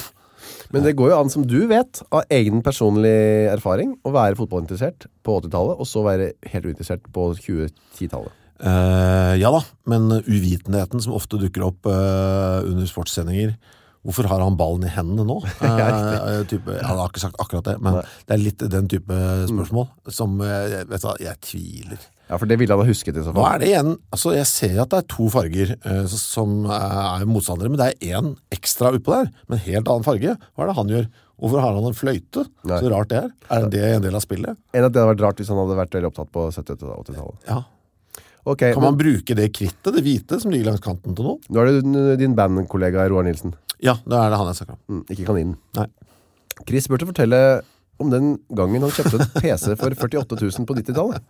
[SPEAKER 2] Men det går jo an, som du vet, av egen personlig erfaring, å være fotballinteressert på 80-tallet, og så være helt uinteressert på 2010-tallet.
[SPEAKER 1] Eh, ja da, men uvitenheten som ofte dukker opp eh, under sportssendinger, hvorfor har han ballen i hendene nå? Eh, type, han har ikke sagt akkurat det, men det er litt den type spørsmål som, eh, vet du hva, jeg tviler.
[SPEAKER 2] Ja, for det ville han ha husket i så
[SPEAKER 1] Nå
[SPEAKER 2] fall.
[SPEAKER 1] er det igjen, altså jeg ser at det er to farger eh, som er motstandere, men det er en ekstra utpå der, med en helt annen farge. Hva er det han gjør? Hvorfor har han en fløyte?
[SPEAKER 2] Nei.
[SPEAKER 1] Så rart det er. Er det en del av spillet?
[SPEAKER 2] Enn at det hadde vært rart hvis han hadde vært veldig opptatt på 70-80-tallet.
[SPEAKER 1] Ja.
[SPEAKER 2] Ok,
[SPEAKER 1] Kan man bruke det krittet, det hvite, som ligger langs kanten til nå?
[SPEAKER 2] nå er det din- din bandkollega Roar Nilsen,
[SPEAKER 1] Ja, det er det han jeg snakker om.
[SPEAKER 2] mm, ikke kaninen.
[SPEAKER 1] Nei.
[SPEAKER 2] Chris burde fortelle om den gangen han kjøpte en PC for 48 000 på 90-tallet,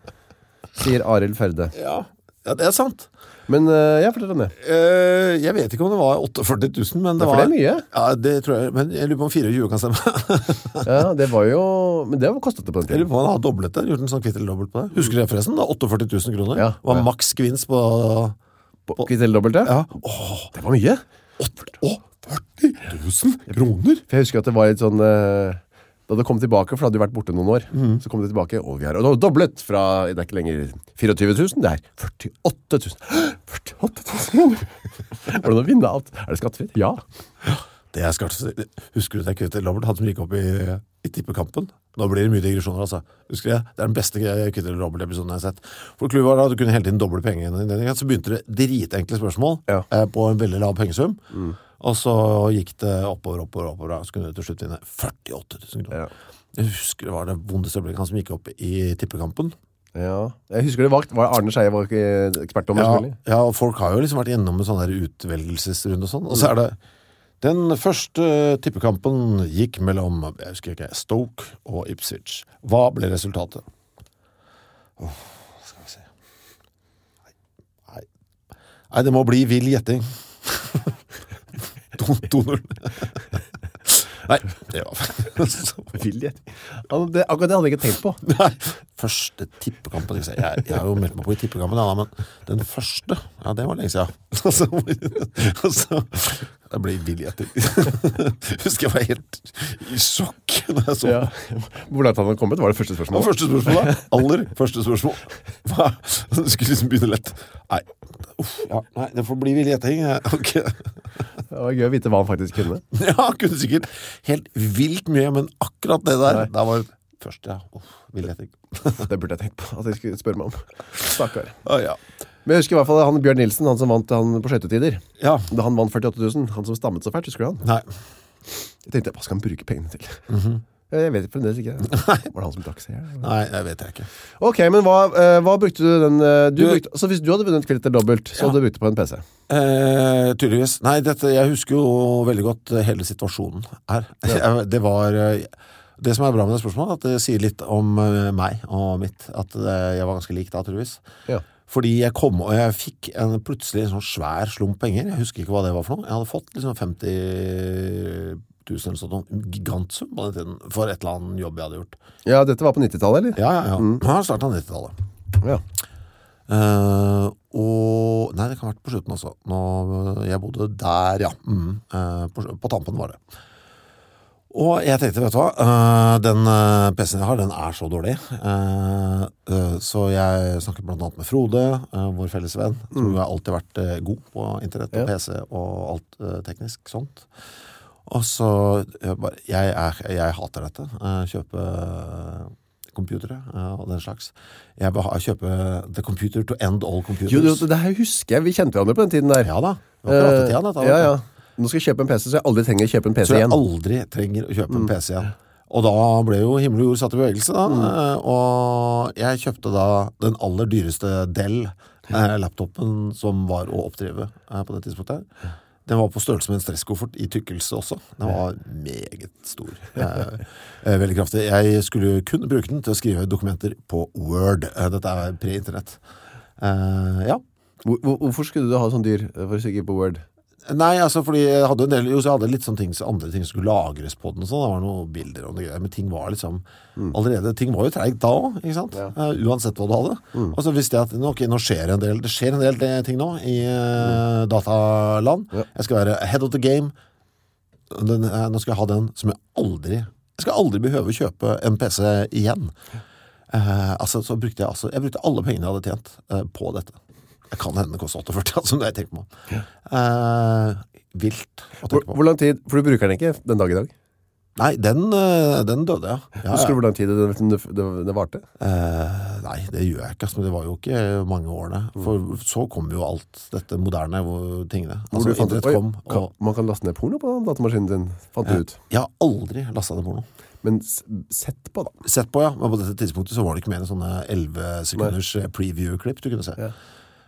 [SPEAKER 2] sier Arild Ferde.
[SPEAKER 1] Ja, ja det er sant.
[SPEAKER 2] Men eh, jeg forteller om det.
[SPEAKER 1] Eh, jeg vet ikke om det var 48 000, men det
[SPEAKER 2] for
[SPEAKER 1] var...
[SPEAKER 2] det er mye.
[SPEAKER 1] Ja, det tror jeg, men jeg lurer på om 24 kan stemme. (laughs)
[SPEAKER 2] Ja, det var jo... Men det var kostet det på den
[SPEAKER 1] Jeg
[SPEAKER 2] tiden.
[SPEAKER 1] lurer på om han har doblet det, gjort en sånn kvitt eller dobbelt på det. Husker du det forresten? Da, 48 000 kroner.
[SPEAKER 2] Ja.
[SPEAKER 1] Det var
[SPEAKER 2] Ja.
[SPEAKER 1] maks kvinns på...
[SPEAKER 2] På- Kvitt eller dobbelt det?
[SPEAKER 1] Ja, åh,
[SPEAKER 2] Det var mye.
[SPEAKER 1] 48 000 kroner?
[SPEAKER 2] For jeg husker at det var litt sånn eh, Da det kom tilbake, for det hadde jo vært borte noen år Så kom det tilbake, og vi har do- doblet fra Det er ikke lenger 24 000, det er 48 (gasps) 000 48 (laughs) 000 Var det noe å vinne alt? Er det skattefritt? Ja
[SPEAKER 1] Det er skattefritt. Husker du det kvittet Robert hadde som gikk opp i, i tippekampen? Nå blir det mye digresjoner, altså. Husker jeg? Det er den beste kvittet Robert-episoden jeg har sett. For clouet var da at du kunne hele tiden doble pengene dine, ikke sant? så begynte det dritenkle spørsmål
[SPEAKER 2] Ja. Mm.
[SPEAKER 1] eh, på en veldig lav pengesum. Og så gikk det oppover, oppover, oppover, og så kunne du til slutt vinne 48 000 kroner.
[SPEAKER 2] Ja.
[SPEAKER 1] Jeg husker det var det vondeste øyeblikket han som gikk opp i tippekampen.
[SPEAKER 2] ja, jeg husker det var, var Arne Scheie var ikke ekspertdommer
[SPEAKER 1] Ja,
[SPEAKER 2] selvfølgelig
[SPEAKER 1] ja, og folk har jo liksom vært gjennom en sånn der utvelgelsesrunde og sånn, og så er det den første tippekampen gikk mellom, jeg husker ikke, Stoke og Ipswich. Hva ble resultatet? Åh, skal vi se. Nei. Nei, det må bli vill gjetting. (laughs) To- 2-0. (laughs) Nei, det var (laughs) så
[SPEAKER 2] Vill jeg- Han- det, Akkurat det hadde jeg ikke tenkt på
[SPEAKER 1] Nei, første tippekampen ikke sant? jeg, jeg har jo meldt meg på i tippekampen ja, da, Men den første, ja det var lenge siden (laughs) Og så og så- Det ble villig etter (laughs) Husker jeg var helt i sjokk Når jeg så
[SPEAKER 2] ja. (laughs) Hvor langt han hadde kommet var det første
[SPEAKER 1] Og
[SPEAKER 2] spørsmålet
[SPEAKER 1] første spørsmål da, aller første spørsmål Hva? Du skulle liksom begynne lett Nei, uff, ja, nei det får bli villig etter (laughs) Ok
[SPEAKER 2] Det var gøy å vite hva han faktisk kunne
[SPEAKER 1] Ja, kunne sikkert helt vilt mye Men akkurat det der,
[SPEAKER 2] Nei.
[SPEAKER 1] det var første, ja, uff, villig etter
[SPEAKER 2] Det burde jeg tenkt på at jeg skulle spørre meg om Stakkar
[SPEAKER 1] Å, ja.
[SPEAKER 2] Men jeg husker i hvert fall han Bjørn Nilsen, han som vant han på skøytetider.
[SPEAKER 1] Ja.
[SPEAKER 2] Da han vant 48 000, han som stammet så fælt, husker du han?
[SPEAKER 1] Nei.
[SPEAKER 2] Jeg tenkte, hva skal han bruke pengene til?
[SPEAKER 1] Mhm.
[SPEAKER 2] Ja, Jeg vet
[SPEAKER 1] (laughs)
[SPEAKER 2] fremdeles ikke. Var det han som drakk seg? her?
[SPEAKER 1] Nei, det vet jeg ikke.
[SPEAKER 2] Ok, men hva, eh, hva brukte du den? eh, Du
[SPEAKER 1] Du-
[SPEAKER 2] brukte, så hvis du hadde vunnet kvittet dobbelt, så hadde du brukt det på en PC.
[SPEAKER 1] Eh, tydeligvis. Nei, dette, jeg husker jo veldig godt eh, hele situasjonen her. (laughs) Jeg- Det var... eh, Det som er bra med det spørsmålet, er at det sier litt om eh, meg og mitt. At eh, jeg var ganske lik da, tydeligvis.
[SPEAKER 2] Ja.
[SPEAKER 1] Fordi jeg kom og jeg fikk en plutselig sånn svær slump penger. Jeg husker ikke hva det var for noe. Jeg hadde fått liksom 50 000 eller sånt, noen gigantsum på den tiden, for et eller annet jobb jeg hadde gjort.
[SPEAKER 2] Ja, dette var på 90-tallet, eller?
[SPEAKER 1] Ja, Mm. ja, ja. Her startet 90-tallet.
[SPEAKER 2] Ja.
[SPEAKER 1] Eh, og, nei, det kan ha vært på slutten altså. Nå, jeg bodde der, ja. Mm, eh, på, på tampen var det. Og jeg tenkte, vet du hva, eh, den eh, PC-en jeg har, den er så dårlig. Eh, eh, så jeg snakket blant annet med Frode, eh, vår felles venn, som jo har alltid vært eh, god på internett og
[SPEAKER 2] Mm. Ja.
[SPEAKER 1] PC og alt eh, teknisk sånt. Og så, jeg, bare, jeg, er, jeg hater dette, eh, kjøpe computere eh, og den slags. Jeg vil ha- kjøpe the computer to end all computers.
[SPEAKER 2] Jo, jo, det her husker jeg. Vi kjente hverandre på den tiden der. Eh,
[SPEAKER 1] Ja da, det var akkurat tida dette. var
[SPEAKER 2] ja,
[SPEAKER 1] det.
[SPEAKER 2] ja. Nå skal jeg kjøpe en PC, så jeg aldri trenger å kjøpe en PC
[SPEAKER 1] Så jeg
[SPEAKER 2] igjen.
[SPEAKER 1] aldri trenger å kjøpe en PC igjen. Og da ble jo himmel og jord satt i bevegelse da, eh, og jeg kjøpte da den aller dyreste Dell-laptopen som var å oppdrive eh, på det tidspunktet her. Den var på størrelse med en stresskoffert i tykkelse også. Den var meget stor. Eh, eh, Veldig kraftig. Jeg skulle kun bruke den til å skrive dokumenter på Word. Eh, Dette er pre-internett. Eh, Ja.
[SPEAKER 2] Hvor, hvor, hvorfor skulle du ha sånn dyr eh, for å sikre på Word?
[SPEAKER 1] Nei, altså fordi jeg hadde en del Jo, så jeg hadde litt sånne ting, andre ting som skulle lagres på den og sånn. Det var noen bilder og noe greier Men ting var liksom Allerede, ting var jo tregt da også, Ikke sant? Eh, uansett hva du hadde Og så visste jeg at nå, Ok, nå skjer det en del Det skjer en del eh, ting nå I eh, dataland
[SPEAKER 2] Ja.
[SPEAKER 1] Jeg skal være head of the game den, eh, Nå skal jeg ha den som jeg aldri Jeg skal aldri behøve å kjøpe en PC igjen Eh, altså, så brukte jeg, altså, jeg brukte alle pengene jeg hadde tjent eh, på dette. Det kan hende det kostet 48, (laughs) altså, det har jeg tenkt på. Eh, vilt å
[SPEAKER 2] Hvor,
[SPEAKER 1] tenke på.
[SPEAKER 2] hvor lang tid, for du bruker den ikke den dag i dag.
[SPEAKER 1] Nei, den, eh, den døde, ja. ja, ja.
[SPEAKER 2] Husker du hvor lang tid det, det, det, det varte?
[SPEAKER 1] Eh, nei, det gjør jeg ikke, altså, men det var jo ikke mange årene. For så kom jo alt dette moderne hvor, tingene.
[SPEAKER 2] Hvor
[SPEAKER 1] Altså,
[SPEAKER 2] du fant ut,
[SPEAKER 1] internett
[SPEAKER 2] «Oi,
[SPEAKER 1] kom,
[SPEAKER 2] kan,
[SPEAKER 1] og
[SPEAKER 2] man kan laste ned porno på datamaskinen din, fant du ut.
[SPEAKER 1] jeg har aldri lastet ned porno.
[SPEAKER 2] Men s- sett på da.
[SPEAKER 1] Sett på, ja, men på dette tidspunktet så var det ikke mer enn sånne 11 sekunders eh, preview-klipp du kunne se.
[SPEAKER 2] Ja.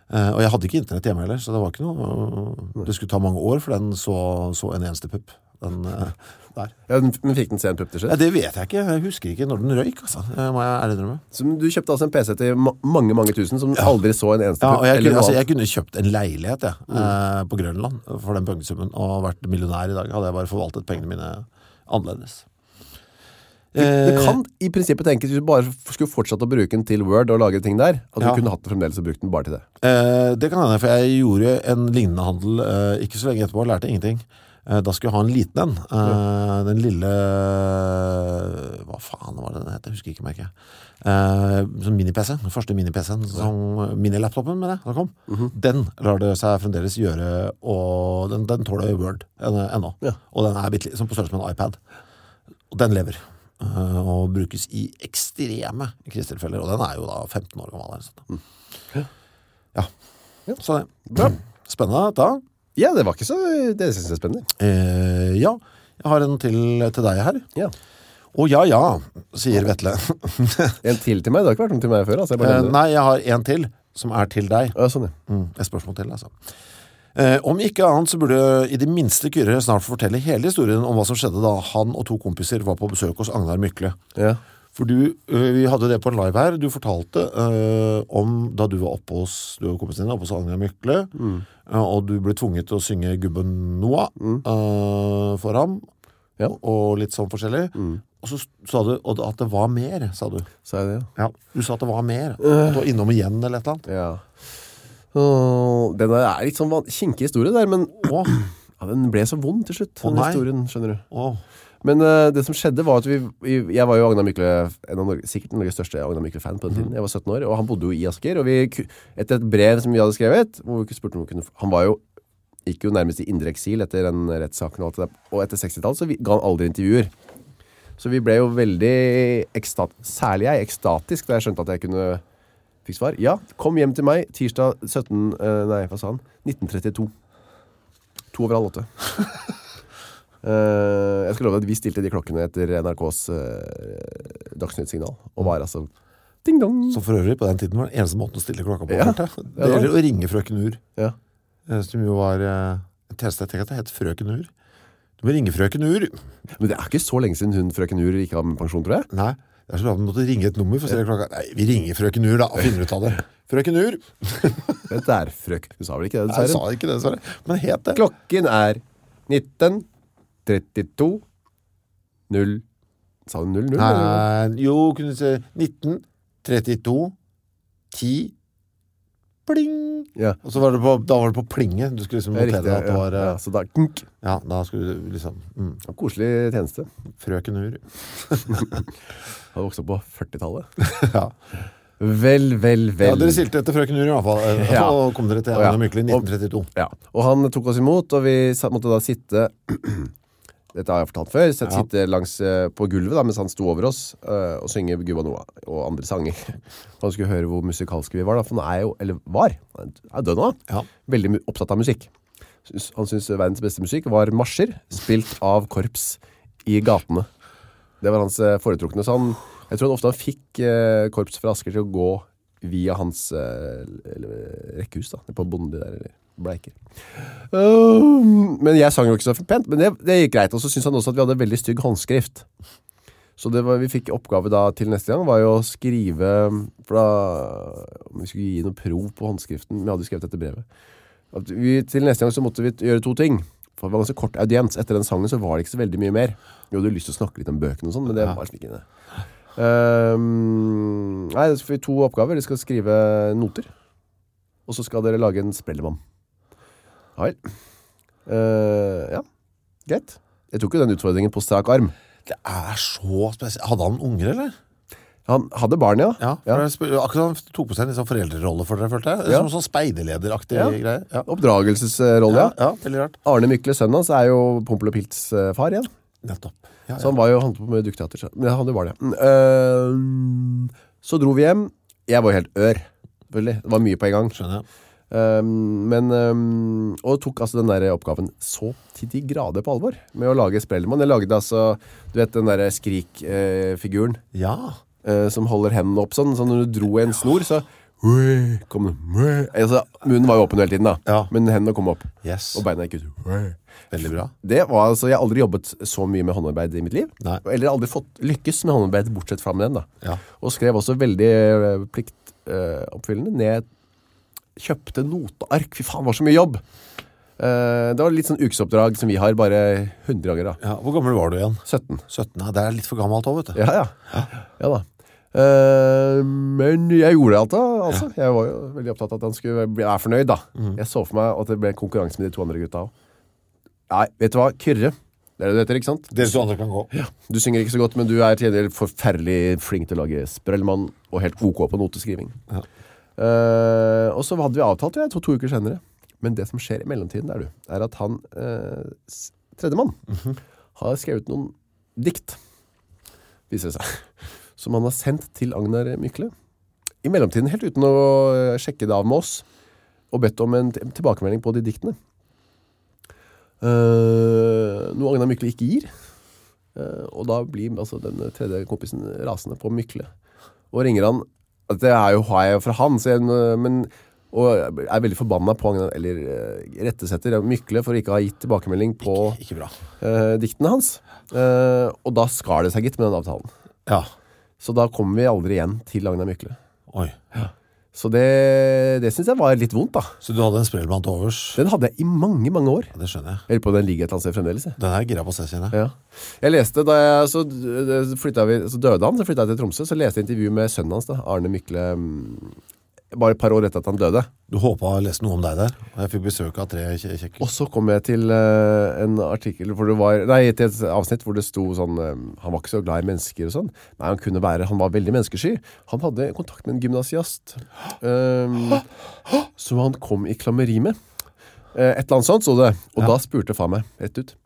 [SPEAKER 1] Eh, og jeg hadde ikke internett hjemme heller, så det var ikke noe... Det skulle ta mange år, for den så, så en eneste pupp.
[SPEAKER 2] (laughs)
[SPEAKER 1] Den, eh, der.
[SPEAKER 2] Ja, den, den fikk den se en pupp til
[SPEAKER 1] Ja,
[SPEAKER 2] slutt.
[SPEAKER 1] det vet jeg ikke, jeg husker ikke når den røyk, altså. Det må jeg ærlig drømme.
[SPEAKER 2] Så du kjøpte altså en PC til ma mange, mange tusen som aldri så en eneste
[SPEAKER 1] Ja,
[SPEAKER 2] pupp.
[SPEAKER 1] og jeg
[SPEAKER 2] eller
[SPEAKER 1] kunne,
[SPEAKER 2] Mm. noe
[SPEAKER 1] altså,
[SPEAKER 2] annet.
[SPEAKER 1] jeg kunne kjøpt en leilighet jeg, eh, på Grønland for den pengesummen og vært millionær i dag. Hadde jeg bare forvaltet pengene mine annerledes. Eh,
[SPEAKER 2] Det kan i prinsippet tenkes hvis du bare f- skulle fortsatt å bruke den til Word og lagre ting der, at du
[SPEAKER 1] Ja.
[SPEAKER 2] kunne hatt den fremdeles og brukt den bare til det.
[SPEAKER 1] Eh, det kan hende, for jeg gjorde en lignende handel eh, ikke så lenge etterpå, og lærte ingenting. Eh, da skulle jeg ha en liten en. Eh, den lille Hva faen var det den het? Jeg husker ikke merket. Eh, sånn mini-PC. Den første mini-PC-en. som- eh, Mini-laptopen, mener jeg. Den, kom. den lar det seg fremdeles gjøre, og den, den tåler Word en- ennå.
[SPEAKER 2] Ja.
[SPEAKER 1] Og den er bitte litt sånn på størrelse med en iPad. Og den lever. eh, og brukes i ekstreme krisetilfeller. Og den er jo da 15 år gammel. Eller sånt. Så det.
[SPEAKER 2] Bra.
[SPEAKER 1] Spennende dette.
[SPEAKER 2] Ja, det var ikke så, det synes jeg er spennende.
[SPEAKER 1] Eh, ja, jeg har en til til deg her.
[SPEAKER 2] Ja.
[SPEAKER 1] Å ja, ja, sier Vetle.
[SPEAKER 2] En til til meg, det har ikke vært noen til meg før, altså. Jeg bare
[SPEAKER 1] Eh,
[SPEAKER 2] nevner det.
[SPEAKER 1] nei, jeg har en til, som er til deg.
[SPEAKER 2] Ja, sånn, ja.
[SPEAKER 1] Mm, et spørsmål til, altså. Eh, om ikke annet så burde i det minste Kyrre snart fortelle hele historien om hva som skjedde da han og to kompiser var på besøk hos Agnar Mykle.
[SPEAKER 2] ja.
[SPEAKER 1] For du, øh, vi hadde det på en live her, du fortalte øh, om da du var oppe hos, du og kompisen din, oppe hos Agnar Mykle,
[SPEAKER 2] Mm.
[SPEAKER 1] øh, og du ble tvunget til å synge Gubben Noah øh, for ham,
[SPEAKER 2] Mm. Ja. Mm.
[SPEAKER 1] og, og litt sånn forskjellig. Og så s- sa du og at det var mer, sa du.
[SPEAKER 2] Sa jeg det, ja. Øh.
[SPEAKER 1] Du sa at det var mer, at du var innom igjen eller et eller annet.
[SPEAKER 2] Ja. Åh, Den er er litt sånn van- kinkig historie der, men (clears throat)
[SPEAKER 1] Åh,
[SPEAKER 2] ja, den ble så vond til slutt, den
[SPEAKER 1] nei.
[SPEAKER 2] historien, skjønner du.
[SPEAKER 1] åh,
[SPEAKER 2] Men eh, det som skjedde var at vi, vi jeg var jo Agnar Mykle, en av Norge, sikkert Norges største Agnar Mykle-fan på den tiden. Jeg var 17 år, og han bodde jo i Asker, og vi, ku- etter et brev som vi hadde skrevet, hvor vi ikke spurte om vi kunne, f- han var jo, gikk jo nærmest i indre eksil etter den rettssaken og alt det der, og etter 60-tallet så vi, ga han aldri intervjuer. Så vi ble jo veldig ekstat, særlig jeg, ekstatisk da jeg skjønte at jeg kunne Fikk svar. Ja, kom hjem til meg tirsdag 17... eh, nei, hva sa han? 1932. To over halv åtte. Eh, jeg skal love deg at vi stilte de klokkene etter NRKs uh, dagsnyttsignal, og var altså ding-dong.
[SPEAKER 1] Som for øvrig på den tiden var den eneste måten å stille klokka på.
[SPEAKER 2] Ja.
[SPEAKER 1] følte jeg. Det gjelder å ringe frøken Ur,
[SPEAKER 2] Ja.
[SPEAKER 1] eh, som jo var eh, en tjeneste jeg tenker at det het frøken Ur. Du må ringe frøken Ur.
[SPEAKER 2] Men det er ikke så lenge siden hun, frøken Ur, gikk av med pensjon, tror jeg.
[SPEAKER 1] Nei, det er så bra at du måtte ringe et nummer for å stille klokka. Nei, vi ringer frøken Ur da, og finner ut av det. Frøken Ur.
[SPEAKER 2] Dette er frøk. Hun sa vel ikke det,
[SPEAKER 1] Jeg
[SPEAKER 2] dessverre.
[SPEAKER 1] sa ikke det, dessverre. Men het det.
[SPEAKER 2] Klokken er 1932 0 Sa hun 00?
[SPEAKER 1] Nei, jo, kunne du si 19, 32, 10, pling.
[SPEAKER 2] Ja.
[SPEAKER 1] Og så var det på, da var det på plinget. Du skulle liksom
[SPEAKER 2] Det er
[SPEAKER 1] notere
[SPEAKER 2] riktig,
[SPEAKER 1] deg at det var...
[SPEAKER 2] ja.
[SPEAKER 1] eh,
[SPEAKER 2] ja, så da, knk.
[SPEAKER 1] Ja, da skulle du liksom... Mm,
[SPEAKER 2] Det var en Koselig tjeneste.
[SPEAKER 1] frøken Ur.
[SPEAKER 2] Har vokst opp på 40-tallet.
[SPEAKER 1] ja.
[SPEAKER 2] Vel, vel, vel.
[SPEAKER 1] Ja, dere stilte etter frøken Ur i hvert fall, eh, (laughs)
[SPEAKER 2] Ja.
[SPEAKER 1] og kom dere til
[SPEAKER 2] Å, ja.
[SPEAKER 1] Anna Mykle i 1932.
[SPEAKER 2] Ja, og han tok oss imot, og vi sa- måtte da sitte (clears throat) Dette har jeg fortalt før så jeg
[SPEAKER 1] Ja.
[SPEAKER 2] Sitte langs eh, på gulvet da, mens han sto over oss eh, Og synge Gubba Noa og andre sanger (laughs) Og han skulle høre hvor musikalske vi var da For han er jo, eller var, han er død nå
[SPEAKER 1] Ja.
[SPEAKER 2] Veldig mu- opptatt av musikk Syns- Han syntes verdens beste musikk var marsjer Spilt av korps i gatene Det var hans eh, foretrukne Så han, jeg tror han ofte han fikk eh, korps fra Asker til å gå Via hans eh, eller, rekkehus da På bonde der, eller bleiker Um, men jeg sang jo ikke så pent, men det, det gikk greit. Og så syntes han også at vi hadde veldig stygg håndskrift. Så det var, vi fikk oppgave da til neste gang, var jo å skrive For da om vi skulle gi noe prov på håndskriften. Vi hadde jo skrevet dette brevet. At vi, til neste gang så måtte vi gjøre to ting. For det var ganske kort audiens. Etter den sangen så var det ikke så veldig mye mer. Vi hadde jo lyst til å snakke litt om bøkene og sånn, men det
[SPEAKER 1] Ja.
[SPEAKER 2] var liksom ikke det. Um, nei, så får vi to oppgaver. De skal skrive noter. Og så skal dere lage en sprellemann. Ja vel. Eh, ja, greit. Jeg tok jo den utfordringen på strak arm.
[SPEAKER 1] Det er så spesielt. Hadde han unger, eller?
[SPEAKER 2] Han hadde barn, ja.
[SPEAKER 1] Ja, for jeg spør- akkurat han tok på seg en litt sånn foreldrerolle for dere, følte jeg.
[SPEAKER 2] Ja.
[SPEAKER 1] Som sånn speiderlederaktig
[SPEAKER 2] Ja.
[SPEAKER 1] greie. Ja.
[SPEAKER 2] Oppdragelsesrolle,
[SPEAKER 1] Ja,
[SPEAKER 2] ja.
[SPEAKER 1] ja, veldig rart.
[SPEAKER 2] Arne Mykle, sønnen hans, er jo Pompel og Pilts eh, far igjen.
[SPEAKER 1] Nettopp. Ja,
[SPEAKER 2] Så han var jo, han holdt på med dukkteater. så- Men han hadde jo barn, ja. Mm, eh, så dro vi hjem. Jeg var jo helt ør, selvfølgelig. Det var mye på en gang.
[SPEAKER 1] Skjønner jeg.
[SPEAKER 2] Eh, men, eh, og tok altså den der oppgaven så til de grader på alvor med å lage Sprellemann. Jeg lagde altså, du vet, den der Skrik-figuren.
[SPEAKER 1] Ja,
[SPEAKER 2] eh, som holder hendene opp sånn, så når du dro i en snor, så kom det altså, Munnen var jo åpen hele tiden, da,
[SPEAKER 1] Ja.
[SPEAKER 2] men hendene kom opp,
[SPEAKER 1] yes.
[SPEAKER 2] og beina gikk ut.
[SPEAKER 1] Veldig bra.
[SPEAKER 2] Det var altså, Jeg har aldri jobbet så mye med håndarbeid i mitt liv.
[SPEAKER 1] Nei.
[SPEAKER 2] Eller aldri fått lykkes med håndarbeid, bortsett fra med den. da.
[SPEAKER 1] Ja.
[SPEAKER 2] Og skrev også veldig eh, pliktoppfyllende ned Kjøpte noteark. Fy faen, det var så mye jobb! Eh, det var litt sånn ukesoppdrag som vi har, bare 100 ganger. da.
[SPEAKER 1] Ja, hvor gammel var du igjen?
[SPEAKER 2] 17.
[SPEAKER 1] 17, ja, det er litt for gammelt også, vet du.
[SPEAKER 2] Ja, ja. ja da. Eh, men jeg gjorde alt da, altså. Jeg var jo veldig opptatt av at han skulle bli- være fornøyd, da. Jeg så for meg at det ble en konkurranse med de to andre gutta også. Nei, vet du hva? Kyrre. Det er det du heter, ikke sant?
[SPEAKER 1] Dere to andre kan gå.
[SPEAKER 2] Du synger ikke så godt, men du er til en del forferdelig flink til å lage sprellmann, og helt OK på noteskriving.
[SPEAKER 1] Ja.
[SPEAKER 2] Eh, og så hadde vi avtalt, det, jeg tror to uker senere. Men det som skjer i mellomtiden, er, du, er at han, eh, s- tredjemann, har skrevet noen dikt, viser det seg, (laughs) som han har sendt til Agnar Mykle. I mellomtiden, helt uten å eh, sjekke det av med oss, og bedt om en t- tilbakemelding på de diktene. Eh, noe Agnar Mykle ikke gir. Eh, og da blir altså, den tredje kompisen rasende på Mykle. Og ringer han at Det er jo har jeg fra han så jeg, men, Og er veldig forbanna på han Eller eh, rettesetter Mykle For ikke å ha gitt tilbakemelding på
[SPEAKER 1] Ikke bra.
[SPEAKER 2] eh, diktene hans Eh, Og da skar det seg gitt med den avtalen
[SPEAKER 1] Ja.
[SPEAKER 2] Så da kommer vi aldri igjen til Agnar Mykle
[SPEAKER 1] Oi.
[SPEAKER 2] Så det, det synes jeg var litt vondt da
[SPEAKER 1] Så du hadde en sprellmann til overs?
[SPEAKER 2] Den hadde jeg i mange, mange år
[SPEAKER 1] Ja, det skjønner jeg.
[SPEAKER 2] Jeg lurer på om den ligger et eller annet sted fremdeles jeg.
[SPEAKER 1] Den er gira på å se, kjenner jeg.
[SPEAKER 2] Ja. Jeg leste da jeg, så, d- flyttet vi, så døde han, så flyttet jeg til Tromsø, så leste jeg intervju med sønnen hans da, Arne Mykle, mm, bare et par år etter at han døde.
[SPEAKER 1] Du håpet jeg leste noe om deg der, og jeg fikk besøk av tre kje- kjekke.
[SPEAKER 2] Og så kom jeg til eh, en artikkel hvor det var, nei, til et avsnitt hvor det sto sånn, eh, han var ikke så glad i mennesker og sånn. Nei, han kunne være, han var veldig menneskesky. Han hadde kontakt med en gymnasiast, eh, som han kom i klammeri med. Eh, et eller annet sånt, så det. Og da spurte far meg, rett ut,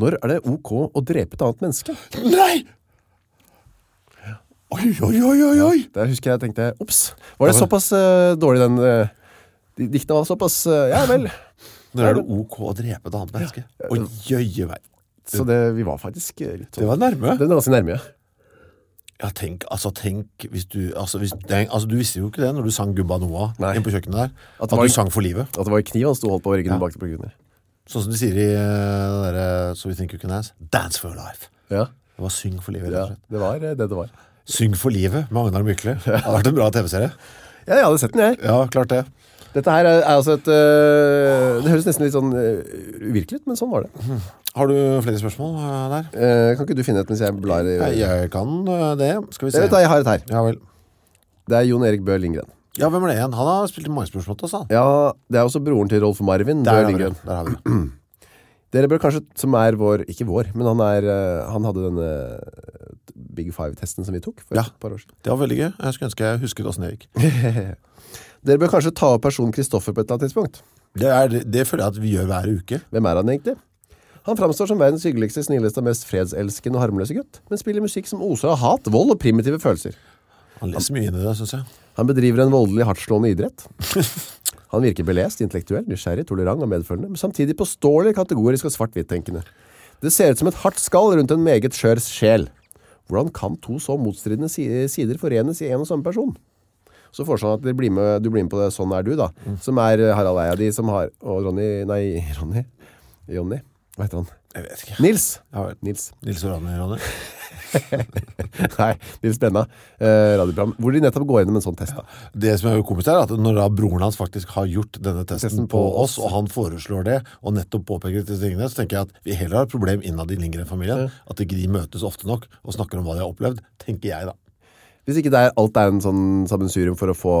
[SPEAKER 2] når er det ok å drepe et annet menneske?
[SPEAKER 1] Nei! Oi, oi, oi, oi, oi!
[SPEAKER 2] Der husker jeg tenkte, opps, var det såpass eh, dårlig den... eh, de diktene var såpass, eh, ja vel.
[SPEAKER 1] Når er det ok å drepe et annet menneske? Å jøye meg.
[SPEAKER 2] Så det, vi var faktisk eh, litt
[SPEAKER 1] Det
[SPEAKER 2] sånn.
[SPEAKER 1] var nærme.
[SPEAKER 2] Den er ganske nærme, ja.
[SPEAKER 1] Ja, tenk, altså, tenk hvis du, altså, hvis, tenk, altså, du visste jo ikke det når du sang Gumba Noa
[SPEAKER 2] Nei.
[SPEAKER 1] inn på kjøkkenet der, at,
[SPEAKER 2] det var-
[SPEAKER 1] du sang for livet.
[SPEAKER 2] At det var en kniv han stod og holdt på ryggen bak til pluggen der.
[SPEAKER 1] Sånn som de sier i eh, den derre So We Think You Can Dance, dance for life.
[SPEAKER 2] Ja,
[SPEAKER 1] Det var syng for livet, rett
[SPEAKER 2] ja,
[SPEAKER 1] og slett.
[SPEAKER 2] det var eh, det det var.
[SPEAKER 1] Syng for livet med Agnar (laughs) Mykle. Det har vært en bra TV-serie.
[SPEAKER 2] Ja, jeg hadde sett den, jeg.
[SPEAKER 1] Ja, klart det.
[SPEAKER 2] Dette her er, er altså et øh, Det høres nesten litt sånn øh, uvirkelig ut, men sånn var det.
[SPEAKER 1] Har du flere spørsmål eh, der?
[SPEAKER 2] Eh, kan ikke du finne et mens jeg blar i
[SPEAKER 1] Nei, jeg kan eh, det. Skal vi
[SPEAKER 2] Jeg
[SPEAKER 1] se.
[SPEAKER 2] vet da, jeg har et her.
[SPEAKER 1] Ja vel.
[SPEAKER 2] Det er Jon Erik Bø Lindgren.
[SPEAKER 1] Ja, hvem er det igjen? Han har spilt i mange spørsmål til oss, da.
[SPEAKER 2] Ja, Det er også broren til Rolf Marvin Bø
[SPEAKER 1] Der har vi det.
[SPEAKER 2] Lindgren.
[SPEAKER 1] Der har vi det.
[SPEAKER 2] Dere bør kanskje, som er vår Ikke vår, men han, er, øh, han hadde denne eh, Big Five-testen som vi tok for
[SPEAKER 1] Ja.
[SPEAKER 2] et par år siden.
[SPEAKER 1] Det var veldig gøy. Jeg skulle ønske jeg husket åssen det gikk.
[SPEAKER 2] Dere bør kanskje ta opp personen Kristoffer på et eller annet tidspunkt.
[SPEAKER 1] Det, er, det føler jeg at vi gjør hver uke.
[SPEAKER 2] Hvem er han egentlig? Han framstår som verdens hyggeligste, snilleste og mest fredselskende og harmløse gutt, men spiller musikk som oser av hat, vold og primitive følelser.
[SPEAKER 1] Han leser mye inn i det, syns jeg.
[SPEAKER 2] Han bedriver en voldelig hardtslående idrett. Han virker belest, intellektuell, nysgjerrig, tolerant og medfølende, men samtidig påståelig, kategorisk og svart-hvitt-tenkende. Det ser ut som et hardt skall rundt en meget skjør sjel. Hvordan kan to så motstridende si- sider forenes i en og samme person? Så foreslår han at de blir med, du blir med på det Sånn er du, da, som er eh, Harald Eia de som har Og Ronny Nei, Ronny. Jonny. Hva heter han?
[SPEAKER 1] Jeg vet ikke.
[SPEAKER 2] Nils!
[SPEAKER 1] Ja vel.
[SPEAKER 2] Nils. (laughs)
[SPEAKER 1] Nils og Ronny, Ronny.
[SPEAKER 2] Nei, Nils Brenna. Eh, radioprogram. Hvor de nettopp går gjennom en sånn test. da.
[SPEAKER 1] Det som er jo komisk er at når da broren hans faktisk har gjort denne testen,
[SPEAKER 2] Testen
[SPEAKER 1] på
[SPEAKER 2] på
[SPEAKER 1] oss, og han foreslår det, og nettopp påpeker disse tingene, så tenker jeg at vi heller har et problem innad i Lindgren-familien, at ikke de møtes ofte nok og snakker om hva de har opplevd, tenker jeg da.
[SPEAKER 2] Hvis ikke det er, alt er en sånn sammensurium for å få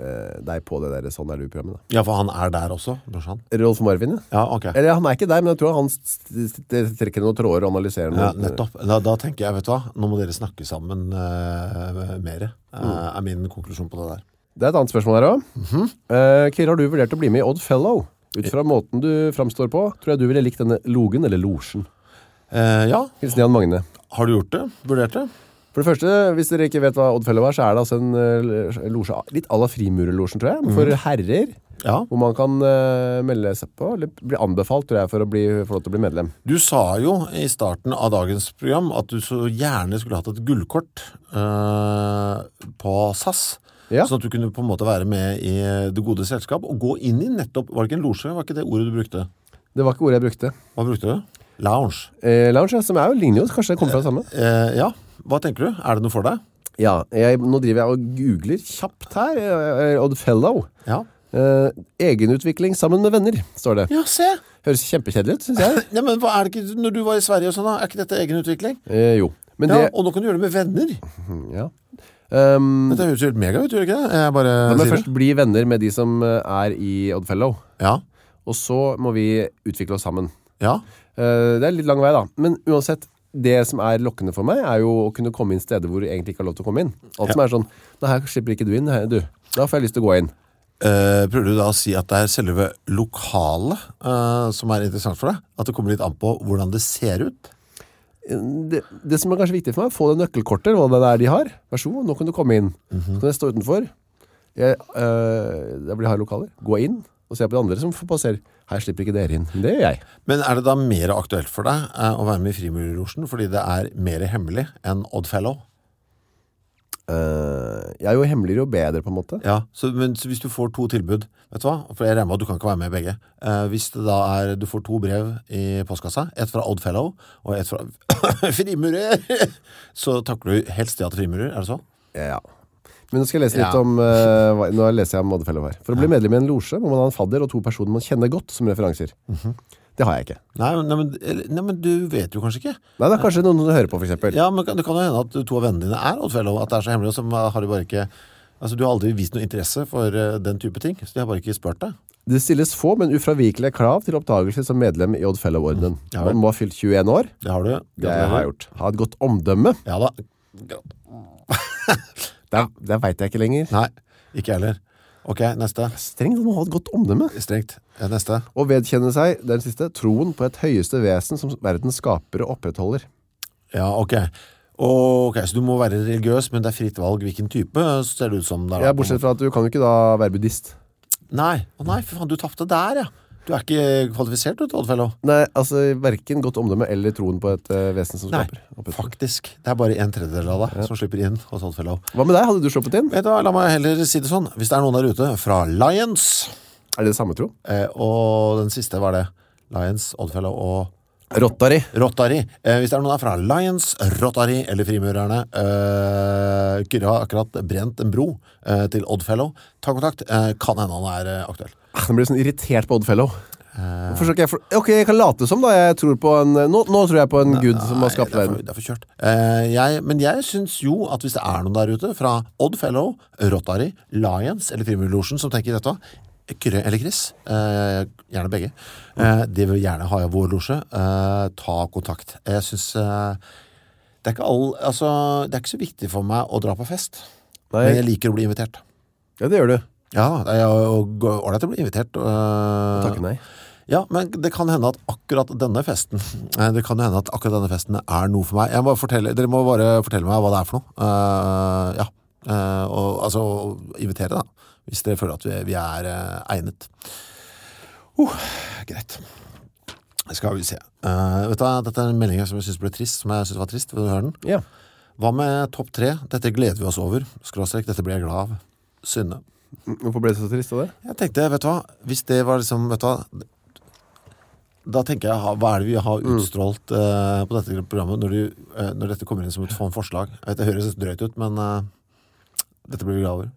[SPEAKER 2] eh, deg på det der Sånn er du-programmet da.
[SPEAKER 1] Ja, for han er der også, brorsan.
[SPEAKER 2] Rolf Marvin, ja.
[SPEAKER 1] Ja, ok.
[SPEAKER 2] Eller han er ikke der, men jeg tror han st- st- st- trekker noen tråder og analyserer
[SPEAKER 1] Ja,
[SPEAKER 2] noe.
[SPEAKER 1] nettopp. Da, da tenker jeg, vet du hva, nå må dere snakke sammen eh, mer, eh,
[SPEAKER 2] Mm.
[SPEAKER 1] er min konklusjon på det der.
[SPEAKER 2] Det er et annet spørsmål her også. Eh, Kyrre, har du vurdert å bli med i Odd Fellow? Ut fra måten du framstår på, tror jeg du ville likt denne logen eller losjen.
[SPEAKER 1] Eh, ja,
[SPEAKER 2] Hilsen Jan Magne.
[SPEAKER 1] har du gjort det? Vurdert det?
[SPEAKER 2] For det første, hvis dere ikke vet hva Odd Fellow er, så er det altså en eh, losje, litt à la frimurerlosjen, tror jeg, for herrer.
[SPEAKER 1] Ja.
[SPEAKER 2] Hvor man kan eh, melde seg på, eller bli anbefalt, tror jeg, for å bli, få lov til å bli medlem.
[SPEAKER 1] Du sa jo i starten av dagens program at du så gjerne skulle hatt et gullkort eh, på SAS.
[SPEAKER 2] Ja.
[SPEAKER 1] Sånn at du kunne på en måte være med i det gode selskap og gå inn i nettopp, var det ikke en loge, var ikke det ordet du brukte?
[SPEAKER 2] Det var ikke ordet jeg brukte.
[SPEAKER 1] Hva brukte du? Lounge.
[SPEAKER 2] Eh, lounge, ja, som er jo ligner jo, kanskje det kommer fra det samme.
[SPEAKER 1] Eh, ja, hva tenker du? Er det noe for deg?
[SPEAKER 2] Ja, jeg, nå driver jeg og googler kjapt her, eh, eh, Odd Fellow.
[SPEAKER 1] Ja.
[SPEAKER 2] Eh, egenutvikling sammen med venner, står det.
[SPEAKER 1] Ja, se!
[SPEAKER 2] Høres kjempekjedelig ut, synes jeg.
[SPEAKER 1] Nei, men hva er det ikke, når du var i Sverige og sånn da, er ikke dette egen utvikling?
[SPEAKER 2] Eh, jo, men
[SPEAKER 1] Ja,
[SPEAKER 2] det...
[SPEAKER 1] og nå kan du gjøre det med venner.
[SPEAKER 2] Ja. Um,
[SPEAKER 1] Dette høres jo helt mega ut, gjør det ikke det? Jeg bare
[SPEAKER 2] men
[SPEAKER 1] sier
[SPEAKER 2] først
[SPEAKER 1] det.
[SPEAKER 2] bli venner med de som eh, er i Odd Fellow,
[SPEAKER 1] Ja,
[SPEAKER 2] og så må vi utvikle oss sammen.
[SPEAKER 1] ja.
[SPEAKER 2] Eh, det er litt lang vei da, men uansett, det som er lokkende for meg er jo å kunne komme inn steder hvor du egentlig ikke har lov til å komme inn. Alt som er sånn, nei, her slipper ikke du inn, her, du. Da får jeg lyst til å gå inn.
[SPEAKER 1] Eh, prøver du da å si at det er selve lokalet eh, som er interessant for deg? At det kommer litt an på hvordan det ser ut?
[SPEAKER 2] Eh, det, det som er kanskje viktig for meg, få det nøkkelkortet, hva det er de har. Vær så god, nå kan du komme inn. Så kan jeg stå utenfor. Jeg, øh, der blir harde lokaler. Gå inn og se på de andre som får passere. Her slipper ikke dere inn. Det gjør jeg.
[SPEAKER 1] Men er det da mer aktuelt for deg eh, å være med i Frimurlosjen fordi det er mer hemmelig enn Oddfellow?
[SPEAKER 2] Eh, jeg er jo hemmeligere og bedre, på en måte.
[SPEAKER 1] Ja, så, men så hvis du får to tilbud, vet du hva? For jeg regner med at du kan ikke være med i begge. Eh, hvis det da er, du får to brev i postkassa, et fra Oddfellow og et fra (coughs) Frimurer, (laughs) så takler du helst det at Frimurer, er det så?
[SPEAKER 2] Ja. Men nå skal jeg lese litt
[SPEAKER 1] Ja.
[SPEAKER 2] om øh, hva- Nå leser jeg om Oddefellow her. For å bli medlem i en losje må man ha en fadder og to personer man kjenner godt som referanser.
[SPEAKER 1] Mhm.
[SPEAKER 2] Det har jeg ikke.
[SPEAKER 1] Nei, men- nei, men, eller- nei, men du vet jo kanskje ikke.
[SPEAKER 2] Nei, det er kanskje noen du hører på, for eksempel.
[SPEAKER 1] Ja, men det kan jo hende at to av vennene dine er Oddfellow, at det er så hemmelig, og så har de bare ikke... Altså, du har aldri vist noe interesse for eh, den type ting, så de har bare ikke spurt deg.
[SPEAKER 2] Det stilles få, men ufravikelige krav til oppdagelse som medlem i Oddfellow-ordenen.
[SPEAKER 1] Ja vel.
[SPEAKER 2] man må ha fylt 21 år.
[SPEAKER 1] Det har du.
[SPEAKER 2] Det har jeg gjort. Ha et godt omdømme.
[SPEAKER 1] Ja da. Gra-
[SPEAKER 2] Der, der vet jeg ikke lenger.
[SPEAKER 1] Nei, ikke jeg heller. Ok, neste.
[SPEAKER 2] Strengt, man må ha et godt omdømme.
[SPEAKER 1] Strengt. Ja, Neste.
[SPEAKER 2] Å vedkjenne seg, det er den siste, troen på et høyeste vesen som verdens skapere opprettholder.
[SPEAKER 1] Ja, ok. Og, ok, så du må være religiøs, men det er fritt valg hvilken type, eh, ser det ut som det er. da,
[SPEAKER 2] Ja,
[SPEAKER 1] på en
[SPEAKER 2] bortsett fra at du kan jo ikke da være buddhist.
[SPEAKER 1] måte. Nei, å nei, for faen, du tappte der, ja. Du er ikke eh, kvalifisert, du, Oddfellow.
[SPEAKER 2] Nei, altså hverken godt omdømme eller troen på et eh, vesen som
[SPEAKER 1] Nei,
[SPEAKER 2] skaper. Opputter.
[SPEAKER 1] faktisk. Det er bare en tredjedel av deg som slipper inn hos Oddfellow.
[SPEAKER 2] Hva med deg? Hadde du sluppet inn?
[SPEAKER 1] Vet du hva, la meg heller si det sånn. Hvis det er noen der ute fra Lions,
[SPEAKER 2] Er det det samme tro?
[SPEAKER 1] eh, og den siste var det, Lions, Oddfellow og
[SPEAKER 2] Rottari.
[SPEAKER 1] Rotary. Eh, hvis det er noen der fra Lions, Rotary eller Frimurerne, eh, Kyrre har akkurat brent en bro eh, til Oddfellow. Ta kontakt. Eh, kan hende han er eh, aktuell.
[SPEAKER 2] Nå blir jeg sånn irritert på Oddfellow.
[SPEAKER 1] Eh.
[SPEAKER 2] Hvorfor skal ikke jeg for... Ok, jeg kan late som da. Jeg tror på en... eh, Nå, nå tror jeg på en gud som har skapt
[SPEAKER 1] Nei, det er
[SPEAKER 2] verden.
[SPEAKER 1] for- Det er for kjørt. Eh, jeg, men jeg syns jo at hvis det er noen der ute fra Oddfellow, Rotary, Lions eller Frimurlosjen som tenker dette, Kyrre eller Chris, eh, gjerne begge, eh, de vil gjerne ha i vår losje, eh, ta kontakt. Jeg syns eh, det, er ikke all, altså, det er ikke så viktig for meg å dra på fest, men
[SPEAKER 2] Nei,
[SPEAKER 1] jeg liker å bli invitert.
[SPEAKER 2] ja, det gjør du.
[SPEAKER 1] Ja, det er jo ålreit å bli invitert. eh,
[SPEAKER 2] Takk nei.
[SPEAKER 1] ja, men det kan hende at akkurat denne festen eh, Det kan jo hende at akkurat denne festen er noe for meg Jeg må bare fortelle, Dere må bare fortelle meg hva det er for noe Eh, Ja, Eh, og, altså invitere da Hvis dere føler at vi, vi er eh, egnet uh, Greit Skal vi se Eh, Vet du hva, dette er en melding her som jeg synes ble trist Som jeg synes var trist, vil du høre den?
[SPEAKER 2] Ja.
[SPEAKER 1] Hva med topp tre? Dette gleder vi oss over Skråstrek, dette blir jeg glad av Synne
[SPEAKER 2] Mm, Hvorfor ble det så trist av det?
[SPEAKER 1] jeg tenkte, vet du hva Hvis det var liksom, vet du hva Da tenker jeg, ha- hva er det vi har utstrålt eh, På dette programmet når, du, eh, når dette kommer inn som et form forslag Jeg vet, det høres drøyt ut, men eh, Dette blir vi glad over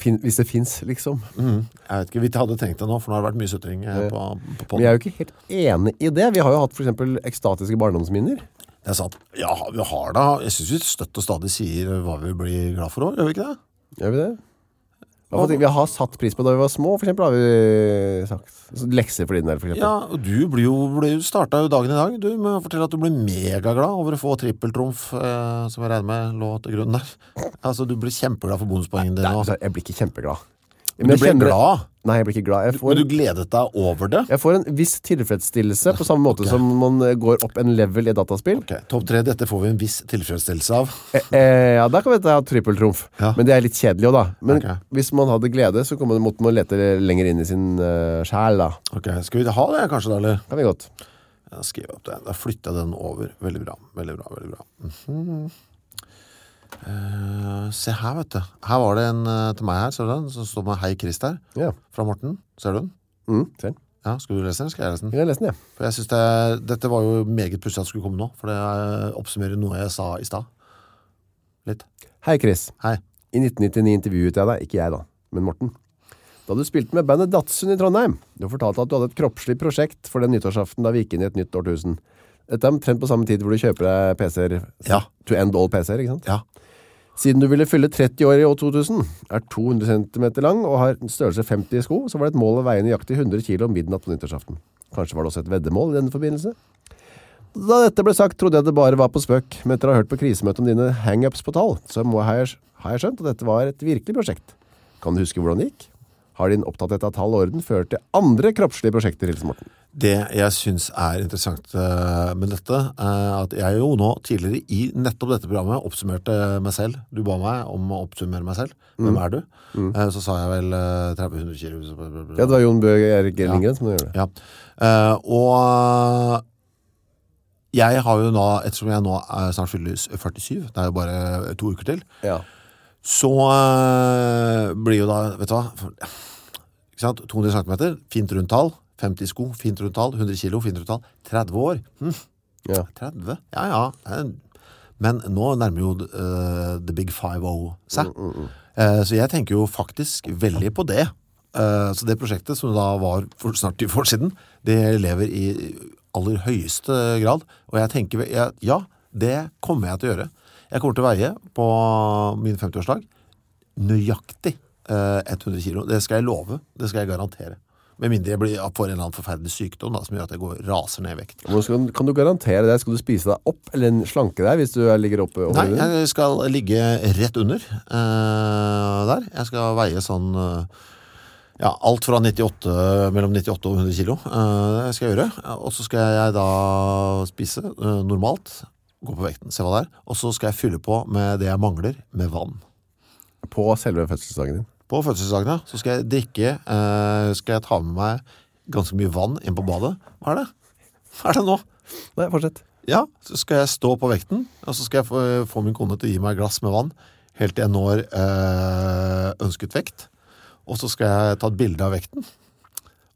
[SPEAKER 2] Fin, hvis det finnes, liksom.
[SPEAKER 1] Mhm. Jeg vet ikke, vi hadde tenkt det nå For nå har det vært mye suttering eh, på, på
[SPEAKER 2] Men
[SPEAKER 1] podden
[SPEAKER 2] jeg er jo ikke helt enig i det. Vi har jo hatt for eksempel ekstatiske barndomsminner.
[SPEAKER 1] Det er sant, ja, vi har da Jeg synes vi støtt og stadig sier hva vi blir glad for også, Gjør vi ikke det?
[SPEAKER 2] Gjør vi det? Ja, for Vi har satt pris på da vi var små, for eksempel har vi sagt. Så Lekser for din del, for eksempel.
[SPEAKER 1] Ja, og du ble jo, ble jo startet jo dagen i dag Du må fortelle at du ble megaglad over å få trippeltromf eh, Som jeg regner med lå til grunn der (laughs) Altså, du ble kjempeglad for bonuspoengene dine og-
[SPEAKER 2] Altså, jeg blir ikke kjempeglad.
[SPEAKER 1] Men du
[SPEAKER 2] jeg
[SPEAKER 1] ble
[SPEAKER 2] kjenner-
[SPEAKER 1] glad
[SPEAKER 2] Nei, jeg blir ikke glad. Jeg får,
[SPEAKER 1] Men du gledet deg over det
[SPEAKER 2] jeg får en viss tilfredsstillelse på samme måte som man eh, går opp en level i et dataspill.
[SPEAKER 1] Ok, topp tre, dette får vi en viss tilfredsstillelse av
[SPEAKER 2] Eh, eh, ja, da kan vi ta trippeltrumf.
[SPEAKER 1] Ja.
[SPEAKER 2] Men det er litt kjedelig også, da. Men
[SPEAKER 1] Ok.
[SPEAKER 2] hvis man hadde glede, så kan man, måtte man lete lenger inn i sin eh, sjel, da.
[SPEAKER 1] Ok, skal vi ha det kanskje da, eller?
[SPEAKER 2] Kan vi godt.
[SPEAKER 1] Jeg skriver opp det, da flytter jeg den over Veldig bra, veldig bra, veldig bra Mhm. Eh, Se her, vet du Her var det en eh, til meg her, ser du den? Som står med Hei Krist her,
[SPEAKER 2] Ja.
[SPEAKER 1] fra Morten Ser du den?
[SPEAKER 2] Mm, ser den.
[SPEAKER 1] Ja, skal du lese den? eller Skal jeg lese den?
[SPEAKER 2] Jeg leser den, ja.
[SPEAKER 1] For jeg synes det, dette var jo meget pussig at det skulle komme nå, for det eh, oppsummerer noe jeg sa i stad. Litt.
[SPEAKER 2] Hei, Chris.
[SPEAKER 1] Hei.
[SPEAKER 2] I 1999 intervjuet jeg deg, ikke jeg da, men Morten. Da du spilte med bandet Datsun i Trondheim, du fortalte at du hadde et kroppslig prosjekt for den nyttårsaften da vi gikk inn i et nytt årtusen. Dette er omtrent på samme tid hvor du kjøper deg PC-er,
[SPEAKER 1] Ja.
[SPEAKER 2] to end all PC-er, ikke sant?
[SPEAKER 1] Ja.
[SPEAKER 2] Siden du ville fylle 30 år i år 2000, er 200 cm lang og har en størrelse 50 i sko, så var det et mål å veie nøyaktig 100 kg om midnatt på nyttårsaften. Kanskje var det også et veddemål i denne forbindelse? Da dette ble sagt, trodde jeg det bare var på spøk, men etter å ha hørt på krisemøtet om dine hang-ups på tall, så må jeg, har jeg skjønt at dette var et virkelig prosjekt. Kan du huske hvordan det gikk? Har din opptatthet av tall og orden ført til andre kroppslige prosjekter, Hilsen Morten?
[SPEAKER 1] Det jeg syns er interessant eh, med dette, eh, at jeg jo nå tidligere i nettopp dette programmet oppsummerte meg selv. Du ba meg om å oppsummere meg selv. Hvem er du? Eh, Så sa jeg vel eh, 30-100 kilo. så bla, bla, bla.
[SPEAKER 2] Ja, det var Jon Bøge Erik Lindgren som gjorde det.
[SPEAKER 1] Ja. Eh, og eh, jeg har jo nå, ettersom jeg nå er snart fyller 47, det er jo bare to uker til,
[SPEAKER 2] Ja.
[SPEAKER 1] Så eh, blir jo da, vet du hva for- Ikke sant, 200 cm, fint rundt tall 50 sko, fint rundt tall, 100 kilo, fint rundt tall 30 år, hm,
[SPEAKER 2] ja.
[SPEAKER 1] 30 Ja, ja eh, Men nå nærmer jo eh, The Big 5-0 seg Eh, Så jeg tenker jo faktisk veldig på det Eh, Så det prosjektet som da var for snart 20 år siden Det lever i aller høyeste grad Og jeg tenker, ve- jeg, ja, det kommer jeg til å gjøre Jeg kommer til å veie på min 50-årsdag nøyaktig eh, 100 kilo. Det skal jeg love, det skal jeg garantere. Med mindre jeg blir, får en eller annen forferdelig sykdom da, som gjør at jeg går, raser ned i vekt.
[SPEAKER 2] Hvordan skal, kan du garantere det? Skal du spise deg opp eller slanke deg hvis du ligger oppe over
[SPEAKER 1] Nei,
[SPEAKER 2] hunden?
[SPEAKER 1] jeg skal ligge rett under eh, der. Jeg skal veie sånn eh, ja, alt fra 98, mellom 98 og 100 kilo eh, det skal jeg gjøre. Og så skal jeg da spise eh, normalt gå på vekten, se hva det er, og så skal jeg fylle på med det jeg mangler, med vann.
[SPEAKER 2] På selve fødselsdagen din.
[SPEAKER 1] På fødselsdagene så skal jeg drikke, eh, skal jeg ta med meg ganske mye vann inn på badet. Hva er det? Hva er det nå?
[SPEAKER 2] Nei, fortsett.
[SPEAKER 1] Ja, så skal jeg stå på vekten, og så skal jeg få, eh, få min kone til å gi meg et glass med vann, helt til jeg når eh, ønsket vekt. Og så skal jeg ta et bilde av vekten.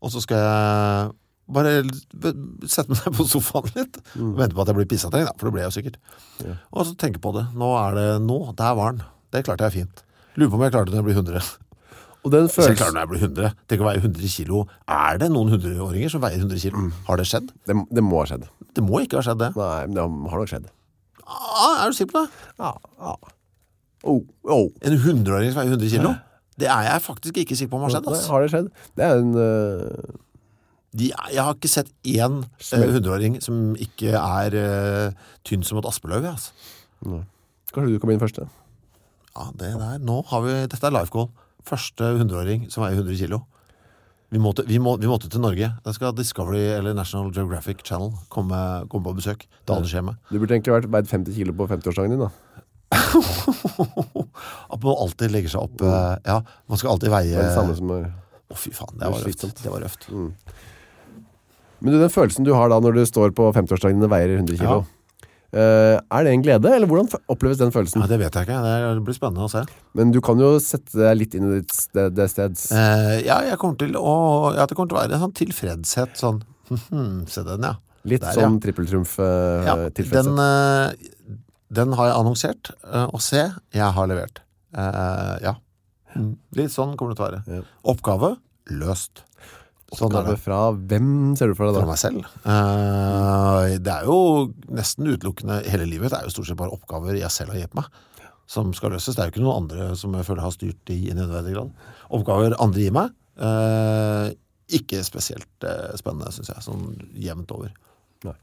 [SPEAKER 1] Og så skal jeg bare l- sette meg (laughs) på sofaen litt, og vente på at jeg blir pissetrengt, da, for det ble jeg jo sikkert. Og så tenke på det. Nå er det nå, der var den. Det klarte jeg fint. Lurer på om jeg klarte det når jeg blir 100.
[SPEAKER 2] Og den
[SPEAKER 1] Hvis jeg klarer
[SPEAKER 2] følelsen
[SPEAKER 1] når jeg blir 100, tenk å veie 100 kilo. Er det noen 100-åringer som veier 100 kilo? Har det skjedd?
[SPEAKER 2] det, det må ha skjedd.
[SPEAKER 1] Det må ikke ha skjedd det.
[SPEAKER 2] Nei, men det har nok skjedd.
[SPEAKER 1] Ah, er du sikker på det?
[SPEAKER 2] Ja, ja. Oh, oh.
[SPEAKER 1] En hundreåring som veier 100 kilo? Det er jeg faktisk ikke sikker på om har skjedd.
[SPEAKER 2] Nei,
[SPEAKER 1] ass.
[SPEAKER 2] har det skjedd? Det er en øh,
[SPEAKER 1] De, jeg har ikke sett én eh, hundreåring som ikke er eh, tynn som et aspeløv. jeg, ass.
[SPEAKER 2] Kanskje du kom inn første?
[SPEAKER 1] Ja, det der, nå har vi, dette er life goal. Første hundreåring som veier 100 kilo. Vi måtte, vi, må, vi måtte til Norge. Da skal Discovery eller National Geographic Channel komme, komme på besøk. Det aner
[SPEAKER 2] (laughs)
[SPEAKER 1] skjer meg.
[SPEAKER 2] Du burde egentlig vært veid 50 kilo på 50-årsdagen din da.
[SPEAKER 1] At man alltid legger seg opp eh, Ja, man skal alltid
[SPEAKER 2] Det
[SPEAKER 1] veie
[SPEAKER 2] er det samme
[SPEAKER 1] Å
[SPEAKER 2] som er...
[SPEAKER 1] fy faen, det var
[SPEAKER 2] Det er
[SPEAKER 1] røft
[SPEAKER 2] slitsomt.
[SPEAKER 1] Det var røft
[SPEAKER 2] Men du, den følelsen du har da når du står på 50-årsdagen din og veier 100 kilo, øh, er det en glede, eller hvordan f- oppleves den følelsen?
[SPEAKER 1] Nei, det vet jeg ikke, det blir spennende å se
[SPEAKER 2] Men du kan jo sette deg litt inn i ditt sted, det steds.
[SPEAKER 1] Eh, Ja, jeg kommer til å Ja, det kommer til å være en sånn tilfredshet Sånn, (laughs) «Hm, se den ja
[SPEAKER 2] Litt
[SPEAKER 1] der,
[SPEAKER 2] sånn trippeltrumf øh,
[SPEAKER 1] ja,
[SPEAKER 2] tilfredshet.
[SPEAKER 1] den, eh, den har jeg annonsert eh, Og se, jeg har levert Eh, Ja Mm, Litt sånn kommer det til å være
[SPEAKER 2] Ja.
[SPEAKER 1] Oppgave, løst Sånn er det
[SPEAKER 2] Oppgave fra hvem ser du for deg
[SPEAKER 1] fra
[SPEAKER 2] da?
[SPEAKER 1] meg selv. Eh, det er jo nesten utelukkende hele livet. Det er jo stort sett bare oppgaver jeg selv har hjulpet meg, som skal løses. Det er jo ikke noen andre som jeg føler har styrt i i nødvendig grad. Oppgaver andre gir meg, eh, ikke spesielt eh, spennende, synes jeg, sånn jevnt over.
[SPEAKER 2] Nei.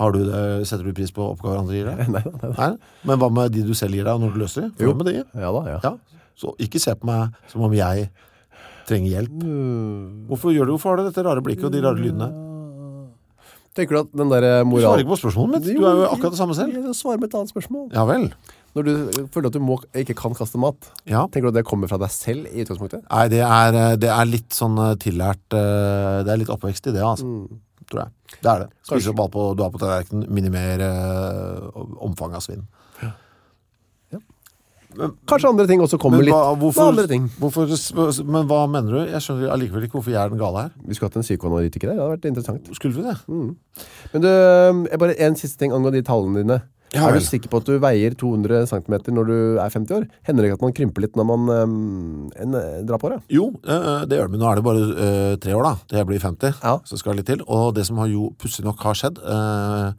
[SPEAKER 1] Har du det, setter du pris på oppgaver andre gir deg?
[SPEAKER 2] (laughs) Nei, nei, nei.
[SPEAKER 1] Nei? Men hva med de du selv gir deg, og når du løser de? Hva med de?
[SPEAKER 2] Ja da, ja.
[SPEAKER 1] Ja. Så ikke se på meg som om jeg trenger hjelp.
[SPEAKER 2] Mm.
[SPEAKER 1] Hvorfor gjør du, hvorfor har du dette rare blikket og de rare lydene?
[SPEAKER 2] Tenker du at den der eh,
[SPEAKER 1] Du
[SPEAKER 2] moral...
[SPEAKER 1] svarer ikke på spørsmålet mitt. Du er jo akkurat det samme selv.
[SPEAKER 2] Jeg svarer med et annet spørsmål.
[SPEAKER 1] Ja vel.
[SPEAKER 2] Når du føler at du må, ikke kan kaste mat,
[SPEAKER 1] Ja.
[SPEAKER 2] tenker du at det kommer fra deg selv i utgangspunktet?
[SPEAKER 1] Nei, det er, eh, det er litt sånn eh, tillært eh, Det er litt oppvekst i det, altså. Tror jeg. Det er det. Spise opp alt på, du har på tallerkenen, minimer eh, omfanget av svinn.
[SPEAKER 2] Kanskje andre ting også kommer
[SPEAKER 1] Men
[SPEAKER 2] litt.
[SPEAKER 1] hva,
[SPEAKER 2] Hva
[SPEAKER 1] hvorfor,
[SPEAKER 2] andre ting?
[SPEAKER 1] hvorfor, s- men hva mener du? Jeg skjønner allikevel ikke hvorfor jeg er den gale her.
[SPEAKER 2] Vi skulle hatt en psykoanalytiker der, det hadde vært interessant.
[SPEAKER 1] Skulle vi det?
[SPEAKER 2] Men du, eh, bare en siste ting angående de tallene dine.
[SPEAKER 1] Ja
[SPEAKER 2] er
[SPEAKER 1] vel.
[SPEAKER 2] du sikker på at du veier 200 cm når du er 50 år? Hender det ikke at man krymper litt når man eh, en, eh, drar på det?
[SPEAKER 1] Jo, eh, det gjør det, men nå er det bare eh, tre år da, til jeg blir 50,
[SPEAKER 2] Ja.
[SPEAKER 1] så skal det litt til. Og det som har jo pussig nok har skjedd, eh,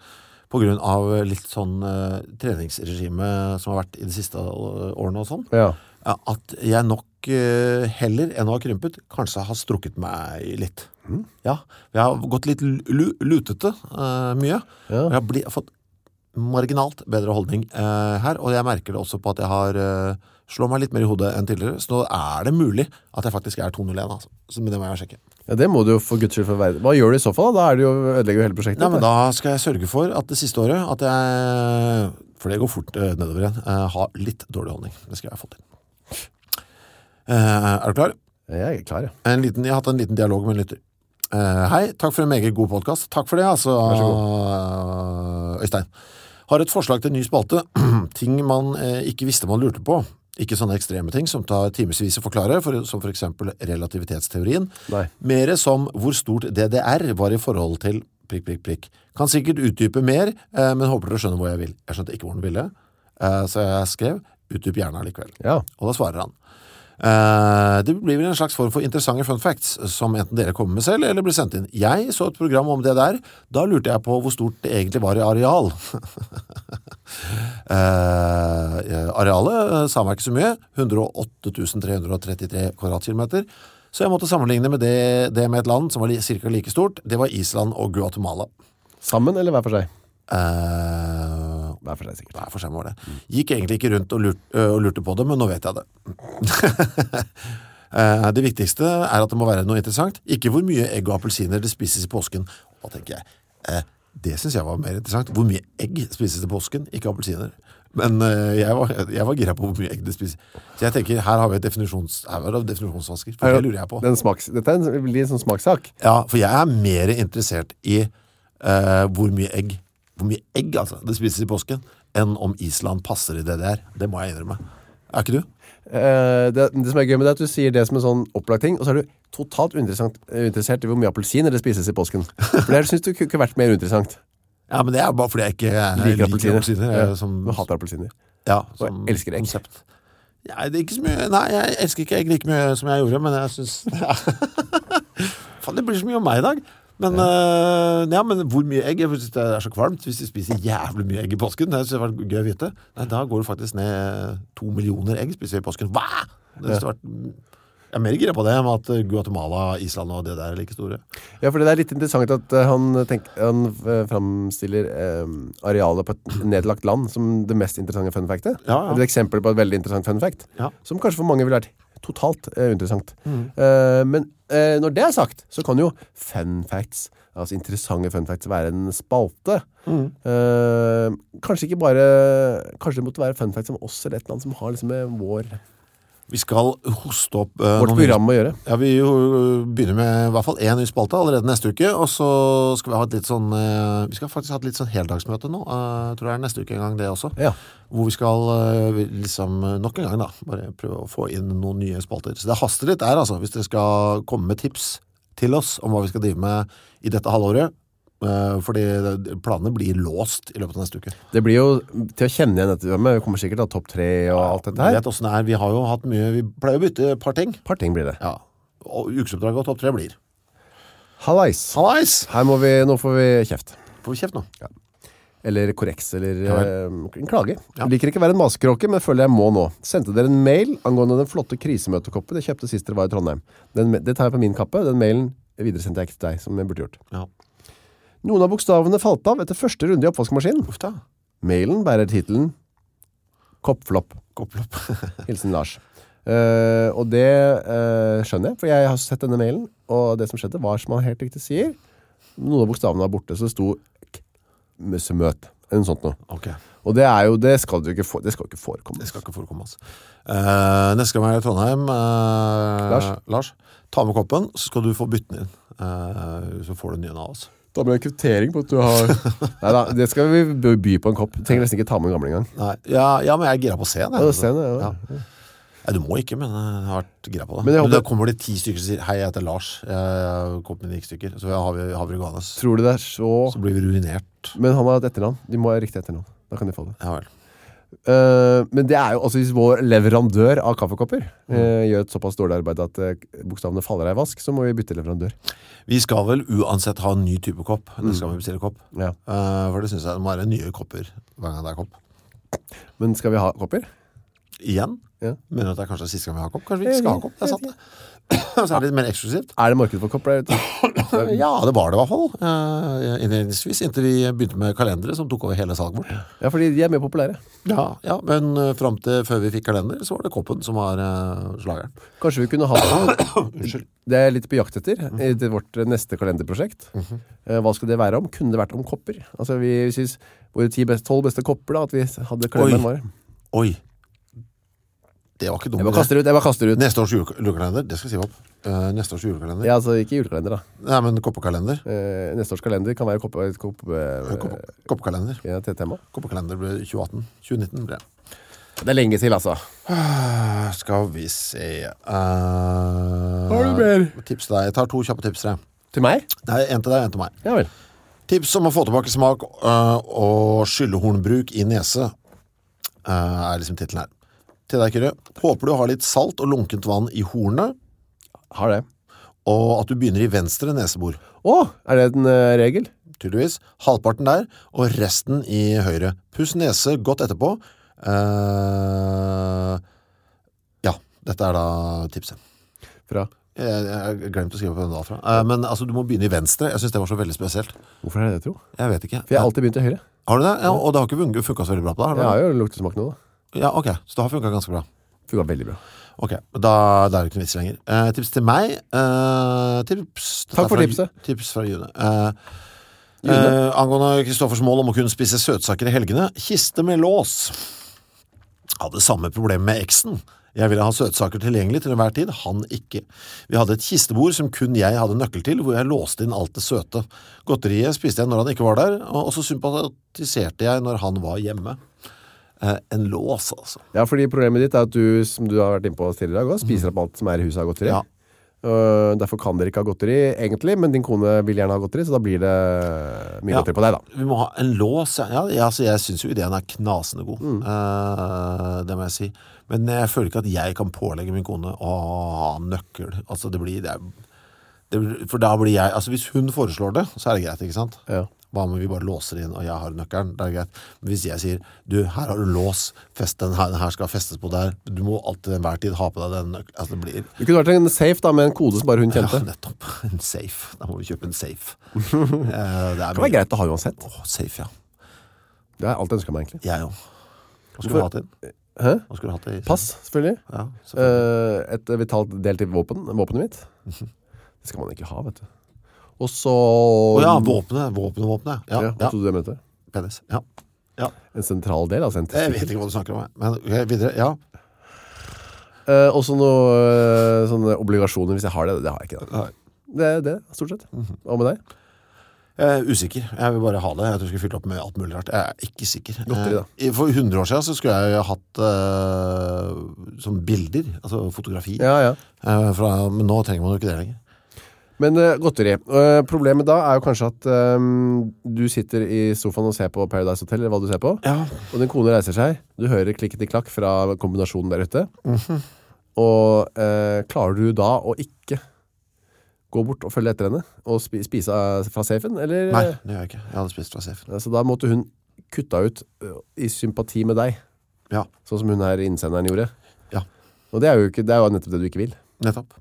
[SPEAKER 1] på grunn av litt sånn eh, treningsregime som har vært i de siste eh, årene og sånn,
[SPEAKER 2] Ja.
[SPEAKER 1] ja, at jeg nok eh, heller enn å ha krympet, kanskje har strukket meg litt. Ja, jeg har gått litt lu lutete eh, mye.
[SPEAKER 2] Ja.
[SPEAKER 1] Jeg har bli, fått marginalt bedre holdning eh, her, og jeg merker det også på at jeg har uh, slår meg litt mer i hodet enn tidligere, så nå er det mulig at jeg faktisk er 201, altså. Så men det må jeg sjekke.
[SPEAKER 2] Ja, det må du jo for guds skyld få veie. Hva gjør du i så fall da? Da er det jo, ødelegger du hele prosjektet.
[SPEAKER 1] Nei, men da skal jeg sørge for at det siste året, at jeg, for det går fort eh, nedover igjen, eh, har litt dårlig holdning. Det skal jeg få til. Eh, er du klar?
[SPEAKER 2] Jeg er klar, ja.
[SPEAKER 1] en liten, Jeg har hatt en liten dialog med en lytter Eh, Hei, takk for en meget god podcast Takk for det, altså eh, Øystein Har et forslag til en ny spalte (clears throat) Ting man eh, ikke visste man lurte på Ikke sånne ekstreme ting som tar timesvis å forklare for, Som for eksempel relativitetsteorien
[SPEAKER 2] Nei.
[SPEAKER 1] Mere som hvor stort DDR var i forhold til prikk, prikk, prikk Kan sikkert utdype mer eh, Men håper dere skjønner hvor jeg vil Jeg skjønte ikke hvor den ville eh, Så jeg skrev, utdyp gjerne likevel
[SPEAKER 2] Ja.
[SPEAKER 1] og da svarer han. «Eh, det blir vel en slags form for interessante fun facts, som enten dere kommer med selv, eller blir sendt inn. Jeg så et program om det der, da lurte jeg på hvor stort det egentlig var i areal. (laughs) Eh, arealet eh, sa meg ikke så mye, 108.333 kvadratkilometer, så jeg måtte sammenligne med det, det med et land som var li, cirka like stort, det var Island og Guatemala.
[SPEAKER 2] Sammen eller hver for seg?
[SPEAKER 1] Eh,
[SPEAKER 2] Hver for seg, sikkert.
[SPEAKER 1] Hver for seg var det. Gikk egentlig ikke rundt og lurte, og lurte på det, men nå vet jeg det. (laughs) Eh, det viktigste er at det må være noe interessant, ikke hvor mye egg og appelsiner det spises i påsken. Da tenker jeg, eh, Det synes jeg var mer interessant. Hvor mye egg spises til påsken? Ikke appelsiner. Men eh, jeg var, jeg var gira på hvor mye egg det spises. Så jeg tenker, her har vi et definisjons, her var det en definisjonsvansker, for det lurer jeg på.
[SPEAKER 2] Den smaks, dette er en, blir en sånn smakssak.
[SPEAKER 1] Ja, for jeg er mer interessert i eh, hvor mye egg, hvor mye egg altså, det spises i påsken, enn om Island passer i det der. Det må jeg innrømme. Er ikke du?
[SPEAKER 2] Eh, det, det som er gøy med det, er at du sier det som en sånn opplagt ting, og så er du totalt uinteressant- uinteressert i hvor mye appelsiner det spises i påsken. For det her synes du kunne ikke vært mer uinteressant.
[SPEAKER 1] Ja, men det er bare fordi jeg ikke eh,
[SPEAKER 2] Liker appelsiner.
[SPEAKER 1] eh,
[SPEAKER 2] Ja.
[SPEAKER 1] som,
[SPEAKER 2] Du hater appelsiner.
[SPEAKER 1] ja,
[SPEAKER 2] Og
[SPEAKER 1] som
[SPEAKER 2] jeg elsker egg.
[SPEAKER 1] konsept. Nei, det er ikke så mye, nei, jeg elsker ikke egg like mye som jeg gjorde, men jeg (laughs) synes... Faen, det blir så mye om meg i dag. Men, eh, ja, men hvor mye egg? Jeg synes det er så kvalmt hvis de spiser jævlig mye egg i påsken. Det synes jeg var gøy å vite. Nei, da går det faktisk ned to millioner egg spiser vi i påsken. Hva? Det synes det vært... Jeg er mer gira på det enn at eh, Guatemala, Island og det der er like store.
[SPEAKER 2] Ja, for det er litt interessant at eh, han, tenk, han eh, fremstiller eh, arealet på et nedlagt land som det mest interessante fun factet.
[SPEAKER 1] Ja, ja.
[SPEAKER 2] Det er Et eksempel på et veldig interessant fun fact,
[SPEAKER 1] Ja. Mm.
[SPEAKER 2] som kanskje for mange ville vært totalt eh, interessant. Eh, men eh, når det er sagt, så kan jo fun facts, altså interessante fun facts, være en spalte.
[SPEAKER 1] Mm.
[SPEAKER 2] Eh, kanskje ikke bare, kanskje det måtte være fun facts om oss eller et eller annet som har liksom med vår,
[SPEAKER 1] Vi skal hoste opp eh,
[SPEAKER 2] vårt
[SPEAKER 1] noen
[SPEAKER 2] program å gjøre.
[SPEAKER 1] Ja, vi jo øh, begynner med i hvert fall én ny spalte allerede neste uke, og så skal vi ha et litt sånn eh, Vi skal faktisk ha et litt sånn heldagsmøte nå, eh, tror jeg er neste uke en gang det også.
[SPEAKER 2] Ja.
[SPEAKER 1] Hvor vi skal eh, vi liksom eh, nok en gang da, bare prøve å få inn noen nye spalter. Så det haster litt der, altså, hvis dere skal komme med tips til oss om hva vi skal drive med i dette halvåret. eh, Fordi det- planene blir låst i løpet av neste uke.
[SPEAKER 2] Det blir jo til å kjenne igjen dette programmet. Vi kommer sikkert til å ha topp tre og alt dette
[SPEAKER 1] Vi
[SPEAKER 2] her.
[SPEAKER 1] vet hvordan det er. Vi har jo hatt mye Vi pleier å bytte et par ting.
[SPEAKER 2] Et par ting blir det.
[SPEAKER 1] Ja. Og ukesoppdraget og topp tre blir.
[SPEAKER 2] Hallais!
[SPEAKER 1] Hallais!
[SPEAKER 2] Her må vi, nå får vi kjeft.
[SPEAKER 1] Får vi kjeft nå?
[SPEAKER 2] Eller korreks, eller
[SPEAKER 1] Ja
[SPEAKER 2] eh, en klage.
[SPEAKER 1] Ja.
[SPEAKER 2] Jeg liker ikke å være en maskekråke, men føler jeg må nå. Sendte dere en mail angående den flotte krisemøtekoppen jeg kjøpte sist dere var i Trondheim. Den, det tar jeg på min kappe. Den mailen videresendte jeg ikke til deg, som jeg burde gjort.
[SPEAKER 1] Ja.
[SPEAKER 2] Noen av bokstavene falt av etter første runde i oppvaskmaskinen.
[SPEAKER 1] Uff da.
[SPEAKER 2] Mailen bærer tittelen Koppflopp.
[SPEAKER 1] Koppel opp. (laughs)
[SPEAKER 2] Hilsen Lars. Eh, og det eh, skjønner jeg, for jeg har sett denne mailen, og det som skjedde var, som han helt riktig sier, noen av bokstavene var borte, så det sto møsemøt, eller noe sånt noe.
[SPEAKER 1] Ok,
[SPEAKER 2] Og det er jo, det skal du ikke, få- det skal jo ikke forekomme.
[SPEAKER 1] det skal ikke forekomme oss. Eh, neste gang vi er i Trondheim, eh,
[SPEAKER 2] Lars?
[SPEAKER 1] Lars, ta med koppen, så skal du få bytten inn. Eh, så får du en ny en av oss.
[SPEAKER 2] Da blir det kvittering på at du har... (laughs) Neida, det skal vi by by på en kopp. Trenger nesten ikke ta med en gammel engang.
[SPEAKER 1] Nei, ja, ja, men jeg er gira på å se den. jeg.
[SPEAKER 2] Ja, det ser jeg, ja.
[SPEAKER 1] Nei, du må ikke, men jeg har vært gira på det.
[SPEAKER 2] Men
[SPEAKER 1] Men,
[SPEAKER 2] jeg håper-
[SPEAKER 1] da kommer det ti stykker som sier, hei, jeg heter Lars, Eh, jeg kom med ni stykker, så har vi, har vi Ruganes.
[SPEAKER 2] Tror du det er så...
[SPEAKER 1] Så blir vi ruinert.
[SPEAKER 2] Men han har et etternavn. De må ha riktig etternavn. Da kan de få det.
[SPEAKER 1] Ja vel.
[SPEAKER 2] Eh, men det er jo, altså hvis vår leverandør av kaffekopper eh, gjør et såpass dårlig arbeid at eh, bokstavene faller av i vask, så må vi bytte leverandør.
[SPEAKER 1] Vi skal vel uansett ha en ny type kopp, det
[SPEAKER 2] Mm.
[SPEAKER 1] skal vi bestille kopp.
[SPEAKER 2] Ja.
[SPEAKER 1] Eh, for det synes jeg, det må være nye kopper hver gang det er kopp.
[SPEAKER 2] Men skal vi ha kopper?
[SPEAKER 1] Igjen?
[SPEAKER 2] Ja.
[SPEAKER 1] Mener du at det er kanskje siste gang vi har kopp? Kanskje vi
[SPEAKER 2] Jeg
[SPEAKER 1] ikke skal ha
[SPEAKER 2] vet-
[SPEAKER 1] kopp, det er sant det. Og så er det (clears throat) litt mer eksklusivt.
[SPEAKER 2] Er det marked for kopper? der ute?
[SPEAKER 1] Ja, det var det i hvert fall. eh, Innledningsvis, inntil vi begynte med kalendere som tok over hele salget vårt.
[SPEAKER 2] ja, fordi de er mer populære.
[SPEAKER 1] Ja, ja men eh, frem til før vi fikk kalender, så var det koppen som var eh, slageren.
[SPEAKER 2] Kanskje vi kunne ha Det er jeg litt på jakt etter i til vårt eh, neste kalenderprosjekt. Eh, Hva skal det være om? Kunne det vært om kopper? Altså vi, vi synes våre 10 best, 12 beste kopper da, at vi hadde
[SPEAKER 1] Oi.
[SPEAKER 2] kalenderen vår.
[SPEAKER 1] Oi, det var ikke
[SPEAKER 2] Jeg
[SPEAKER 1] dumt.
[SPEAKER 2] bare kaster ut, jeg bare kaster ut.
[SPEAKER 1] Neste års jule- julekalender, det skal jeg si opp. Eh, Neste års julekalender.
[SPEAKER 2] Ja, altså ikke julekalender da.
[SPEAKER 1] Nei, men koppekalender.
[SPEAKER 2] Eh, Neste års kalender kan være kopper, kopper,
[SPEAKER 1] Koppe- Koppekalender.
[SPEAKER 2] Ja, til et tema.
[SPEAKER 1] Koppekalender ble 2018. 2019 ble det.
[SPEAKER 2] Det er lenge til, altså.
[SPEAKER 1] Eh, Skal vi se Har
[SPEAKER 2] du mer?
[SPEAKER 1] Tips til deg, jeg tar to kjappe tips til deg
[SPEAKER 2] Til meg?
[SPEAKER 1] Nei, en til deg, en til meg
[SPEAKER 2] Ja vel.
[SPEAKER 1] Tips om å få tilbake smak eh, og skyllehornbruk i nese eh, Er liksom titlen her Til deg, Kyrre Håper du har litt salt og lunkent vann i hornet
[SPEAKER 2] Har det.
[SPEAKER 1] Og at du begynner i venstre nesebor
[SPEAKER 2] Å, er det en eh, regel?
[SPEAKER 1] Tydeligvis, halvparten der Og resten i høyre Puss nese godt etterpå Eh, Ja, dette er da tipset
[SPEAKER 2] Fra.
[SPEAKER 1] Jeg, jeg glemte å skrive på den da fra. Eh, Men altså, du må begynne i venstre. Jeg synes det var så veldig spesielt.
[SPEAKER 2] Hvorfor er det det, tro?
[SPEAKER 1] Jeg vet ikke.
[SPEAKER 2] For jeg har alltid begynt til høyre.
[SPEAKER 1] Har du det? Ja, og det har ikke fun- funket så veldig bra på deg, har du
[SPEAKER 2] Jeg
[SPEAKER 1] det?
[SPEAKER 2] har jo luktesmak nå, da.
[SPEAKER 1] Ja, ok. Så det har funket ganske bra.
[SPEAKER 2] Funka veldig bra.
[SPEAKER 1] Ok, da, da er det ikke noe vits lenger. Eh, tips til meg. eh, tips.
[SPEAKER 2] Takk for
[SPEAKER 1] fra-
[SPEAKER 2] tipset.
[SPEAKER 1] Tips fra June. Eh, Eh, angående Kristoffers mål om å kunne spise søtsaker i helgene, kiste med lås. Hadde samme problem med eksen. Jeg ville ha søtsaker tilgjengelig til enhver tid, han ikke. Vi hadde et kistebord som kun jeg hadde nøkkel til, hvor jeg låste inn alt det søte. Godteriet spiste jeg når han ikke var der, og og så sympatiserte jeg når han var hjemme. Eh, en lås, altså.
[SPEAKER 2] Ja, fordi problemet ditt er at du, som du har vært inne på tidligere i dag, også, spiser opp alt som er i huset av godteri.
[SPEAKER 1] Ja.
[SPEAKER 2] Øh, derfor kan dere ikke ha godteri, egentlig, men din kone vil gjerne ha godteri, så da blir det eh, mye
[SPEAKER 1] Ja.
[SPEAKER 2] godteri på deg, da.
[SPEAKER 1] Vi må ha en lås. ja. Ja, ja, altså, jeg syns jo ideen er knasende god.
[SPEAKER 2] Mm.
[SPEAKER 1] Eh, det må jeg si. Men jeg føler ikke at jeg kan pålegge min kone å ha nøkkel. Altså, det blir, det er, det blir, for da blir jeg Altså, hvis hun foreslår det, så er det greit, ikke sant?
[SPEAKER 2] Ja.
[SPEAKER 1] Hva om vi bare låser inn, og jeg har nøkkelen? Det er greit. Men hvis jeg sier du, her har du lås, fest den her, den her skal festes på der, du må alltid til enhver tid ha på deg den nøkkelen. Altså, det blir
[SPEAKER 2] Det kunne vært en safe da, med en kode som bare hun kjente.
[SPEAKER 1] ja, nettopp. (laughs) En safe. Da må vi kjøpe en
[SPEAKER 2] (laughs)
[SPEAKER 1] safe. Eh, det er
[SPEAKER 2] Det var
[SPEAKER 1] mye.
[SPEAKER 2] greit å ha uansett.
[SPEAKER 1] Åh, safe, ja.
[SPEAKER 2] Det har jeg alltid ønsket meg, egentlig.
[SPEAKER 1] Jeg òg. Hva skulle du hatt inn?
[SPEAKER 2] Hæ?
[SPEAKER 1] Hva skulle du hatt i?
[SPEAKER 2] Pass, selvfølgelig.
[SPEAKER 1] Ja, selvfølgelig.
[SPEAKER 2] Eh, et vitalt del til våpen, våpenet mitt.
[SPEAKER 1] Mhm.
[SPEAKER 2] Det skal man ikke ha, vet du. Og så...
[SPEAKER 1] Å ja, våpenet, våpenet, våpenet. Ja,
[SPEAKER 2] Ja, altså-
[SPEAKER 1] ja,
[SPEAKER 2] hva trodde du jeg mente?
[SPEAKER 1] penis. Ja. ja.
[SPEAKER 2] En sentral del, altså en
[SPEAKER 1] Jeg
[SPEAKER 2] testikkel.
[SPEAKER 1] vet ikke hva du snakker om, jeg. men ok, videre. Ja.
[SPEAKER 2] Eh, også noe, eh, sånne obligasjoner hvis jeg har det. Det har jeg ikke. Da.
[SPEAKER 1] Nei. Mhm.
[SPEAKER 2] Det er det, stort sett. Hva med deg?
[SPEAKER 1] Jeg er usikker. Jeg vil bare ha det. Jeg tror jeg skulle fylt opp med alt mulig rart. Jeg er ikke sikker.
[SPEAKER 2] Godteri, da.
[SPEAKER 1] Eh, For 100 år siden så skulle jeg jo ha hatt eh, sånn bilder, altså fotografi.
[SPEAKER 2] Ja, ja.
[SPEAKER 1] eh, fra, men nå trenger man jo ikke det lenger.
[SPEAKER 2] Men eh, godteri. Eh, problemet da er jo kanskje at eh, du sitter i sofaen og ser på Paradise Hotel, eller hva du ser på,
[SPEAKER 1] Ja.
[SPEAKER 2] og din kone reiser seg. Du hører klikket i klakk fra kombinasjonen der ute. Og eh, klarer du da å ikke gå bort og følge etter henne og spi spise eh, fra safen? Eller?
[SPEAKER 1] Nei, det gjør jeg ikke. Jeg hadde spist fra safen.
[SPEAKER 2] Ja, Så da måtte hun kutta ut ø, i sympati med deg,
[SPEAKER 1] Ja,
[SPEAKER 2] sånn som hun her innsenderen gjorde.
[SPEAKER 1] Ja.
[SPEAKER 2] Og det er jo, ikke, det er jo nettopp det du ikke vil.
[SPEAKER 1] nettopp.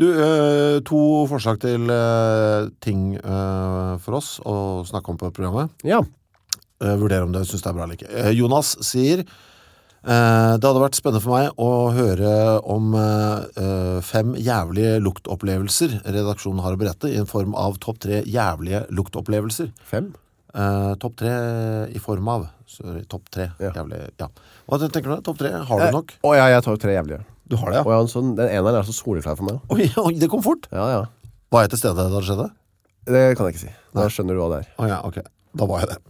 [SPEAKER 1] Du, eh, to forslag til eh, ting eh, for oss å snakke om på programmet.
[SPEAKER 2] Ja,
[SPEAKER 1] Eh, vurdere om du synes det er bra eller ikke. Eh, Jonas sier eh, det hadde vært spennende for meg å høre om eh, eh, fem jævlige luktopplevelser redaksjonen har å berette i en form av topp tre jævlige luktopplevelser.
[SPEAKER 2] fem.
[SPEAKER 1] Eh, topp tre i form av, sorry, topp tre
[SPEAKER 2] Ja.
[SPEAKER 1] jævlige, ja. Hva tenker du? Topp tre, har
[SPEAKER 2] Eh,
[SPEAKER 1] du nok?
[SPEAKER 2] Å ja, jeg tar jo tre jævlige.
[SPEAKER 1] Du har det,
[SPEAKER 2] Og ja, en sånn, den ene er så soleklar for meg.
[SPEAKER 1] Oi, oi, det kom fort.
[SPEAKER 2] Ja, ja.
[SPEAKER 1] Var jeg til stede da det skjedde?
[SPEAKER 2] Det kan jeg ikke si. Da skjønner du hva det er.
[SPEAKER 1] Å ja, ok. Da var jeg det.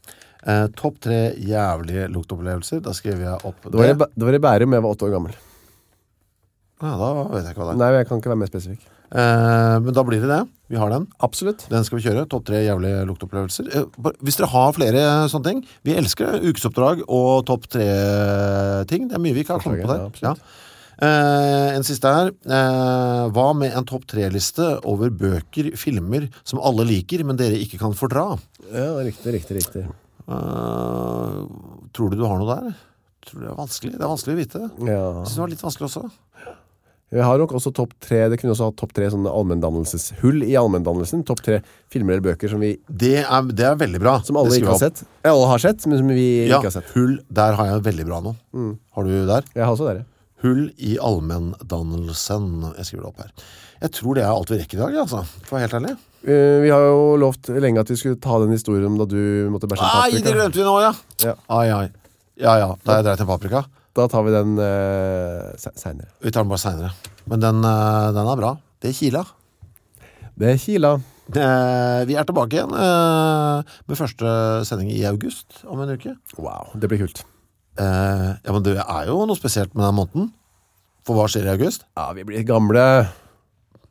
[SPEAKER 1] Eh, topp tre jævlige luktopplevelser, da skriver jeg opp det.
[SPEAKER 2] Det var, i, Bæ- det var i Bærum, jeg var åtte år gammel.
[SPEAKER 1] Ja, da vet jeg ikke hva det er.
[SPEAKER 2] Nei, men jeg kan ikke være mer spesifikk.
[SPEAKER 1] Eh, men da blir det det. Vi har den.
[SPEAKER 2] Absolutt.
[SPEAKER 1] Den skal vi kjøre. Topp tre jævlige luktopplevelser. Eh, bare- Hvis dere har flere sånne ting Vi elsker ukesoppdrag og topp tre-ting. Det er mye vi ikke har kommet på
[SPEAKER 2] Forslaget,
[SPEAKER 1] der.
[SPEAKER 2] ja,
[SPEAKER 1] Ja, Eh, en siste her. Eh, hva med en topp tre-liste over bøker, filmer som alle liker, men dere ikke kan fordra?
[SPEAKER 2] Ja, riktig, riktig, riktig.
[SPEAKER 1] Eh, tror du du har noe der? Tror du det er vanskelig? Det er vanskelig å vite.
[SPEAKER 2] Ja.
[SPEAKER 1] Jeg synes det var litt vanskelig også.
[SPEAKER 2] Jeg har nok også topp tre, det kunne også ha topp tre sånne allmenndannelseshull i allmenndannelsen. Topp tre filmer eller bøker som vi,
[SPEAKER 1] Det er, det er veldig bra.
[SPEAKER 2] som alle
[SPEAKER 1] Det skriver
[SPEAKER 2] ikke har
[SPEAKER 1] jeg opp.
[SPEAKER 2] sett. Alle har sett, men som vi
[SPEAKER 1] Ja,
[SPEAKER 2] ikke har sett.
[SPEAKER 1] hull. Der har jeg veldig bra noe. Har du der?
[SPEAKER 2] Jeg har også dere.
[SPEAKER 1] Hull i allmenndannelsen. Jeg skriver det opp her. Jeg tror det er alt vi rekker i dag, altså. For å være helt ærlig.
[SPEAKER 2] Eh, vi har jo lovt lenge at vi skulle ta den historien om da du måtte bæsje en
[SPEAKER 1] Ai, det
[SPEAKER 2] paprika.
[SPEAKER 1] glemte vi nå, ja.
[SPEAKER 2] Ja.
[SPEAKER 1] Ai, ai. Ja, ja. Da har jeg dreit en paprika.
[SPEAKER 2] Da tar vi den uh, senere.
[SPEAKER 1] Vi tar den bare seinere. Men den, eh, den er bra. Det kila.
[SPEAKER 2] Det er Kila.
[SPEAKER 1] Eh, Vi er tilbake igjen eh, med første sending i august om en uke.
[SPEAKER 2] Wow, det blir kult.
[SPEAKER 1] Eh, Ja, men det er jo noe spesielt med den måneden. For hva skjer i august?
[SPEAKER 2] Ja, vi blir gamle.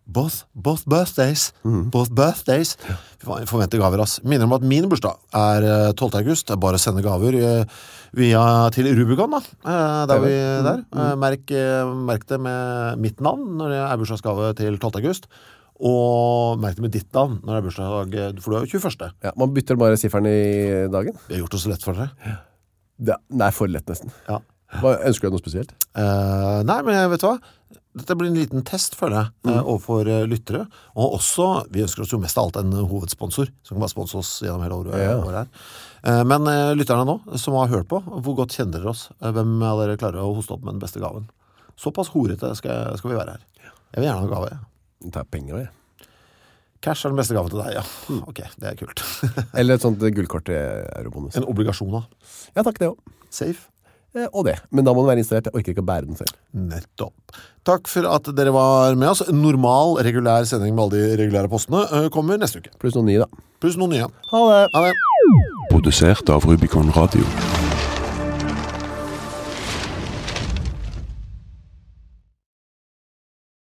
[SPEAKER 1] Both, both birthdays. Both birthdays. Fy faen, jeg Forventer gaver, ass. Minner om at min bursdag er eh, 12. august. Det er bare å sende gaver eh, via til Rubicon, da. Eh, Der vi der. Eh, Merk, eh, merk det med mitt navn når det er bursdagsgave til 12. august. Og merk det med ditt navn når det er bursdag, eh, for du er jo 21.
[SPEAKER 2] Ja, man bytter bare sifferen i dagen.
[SPEAKER 1] Vi har gjort det så lett for dere.
[SPEAKER 2] Det det er for lett nesten.
[SPEAKER 1] Ja.
[SPEAKER 2] Hva, ønsker du noe spesielt?
[SPEAKER 1] Eh, nei, men jeg vet du hva? Dette blir en liten test, føler jeg, eh, overfor eh, lyttere. Og også, vi ønsker oss jo mest av alt en hovedsponsor, som kan bare sponse oss gjennom hele året.
[SPEAKER 2] Ja.
[SPEAKER 1] året her. Eh, men eh, lytterne nå, som har hørt på, hvor godt kjenner dere oss? Eh, Hvem av dere klarer å hoste opp med den beste gaven? Såpass horete skal, skal vi være her. Jeg vil gjerne ha gave.
[SPEAKER 2] Jeg tar penger, jeg.
[SPEAKER 1] Cash er den beste gaven til deg, ja. Ok, det er kult. (laughs)
[SPEAKER 2] Eller et sånt gullkort til eurobonus.
[SPEAKER 1] en obligasjon da.
[SPEAKER 2] Ja, takk det også.
[SPEAKER 1] Safe.
[SPEAKER 2] Eh, Og det. Men da må den være installert. Jeg orker ikke å bære den selv.
[SPEAKER 1] Nettopp. Takk for at dere var med oss. Normal, regulær sending med alle de regulære postene eh, kommer neste uke. é.
[SPEAKER 2] Pluss noen nye, da.
[SPEAKER 1] Pluss noen nye.
[SPEAKER 2] Ha det!
[SPEAKER 1] Ha det.
[SPEAKER 3] Produsert av Rubicon Radio.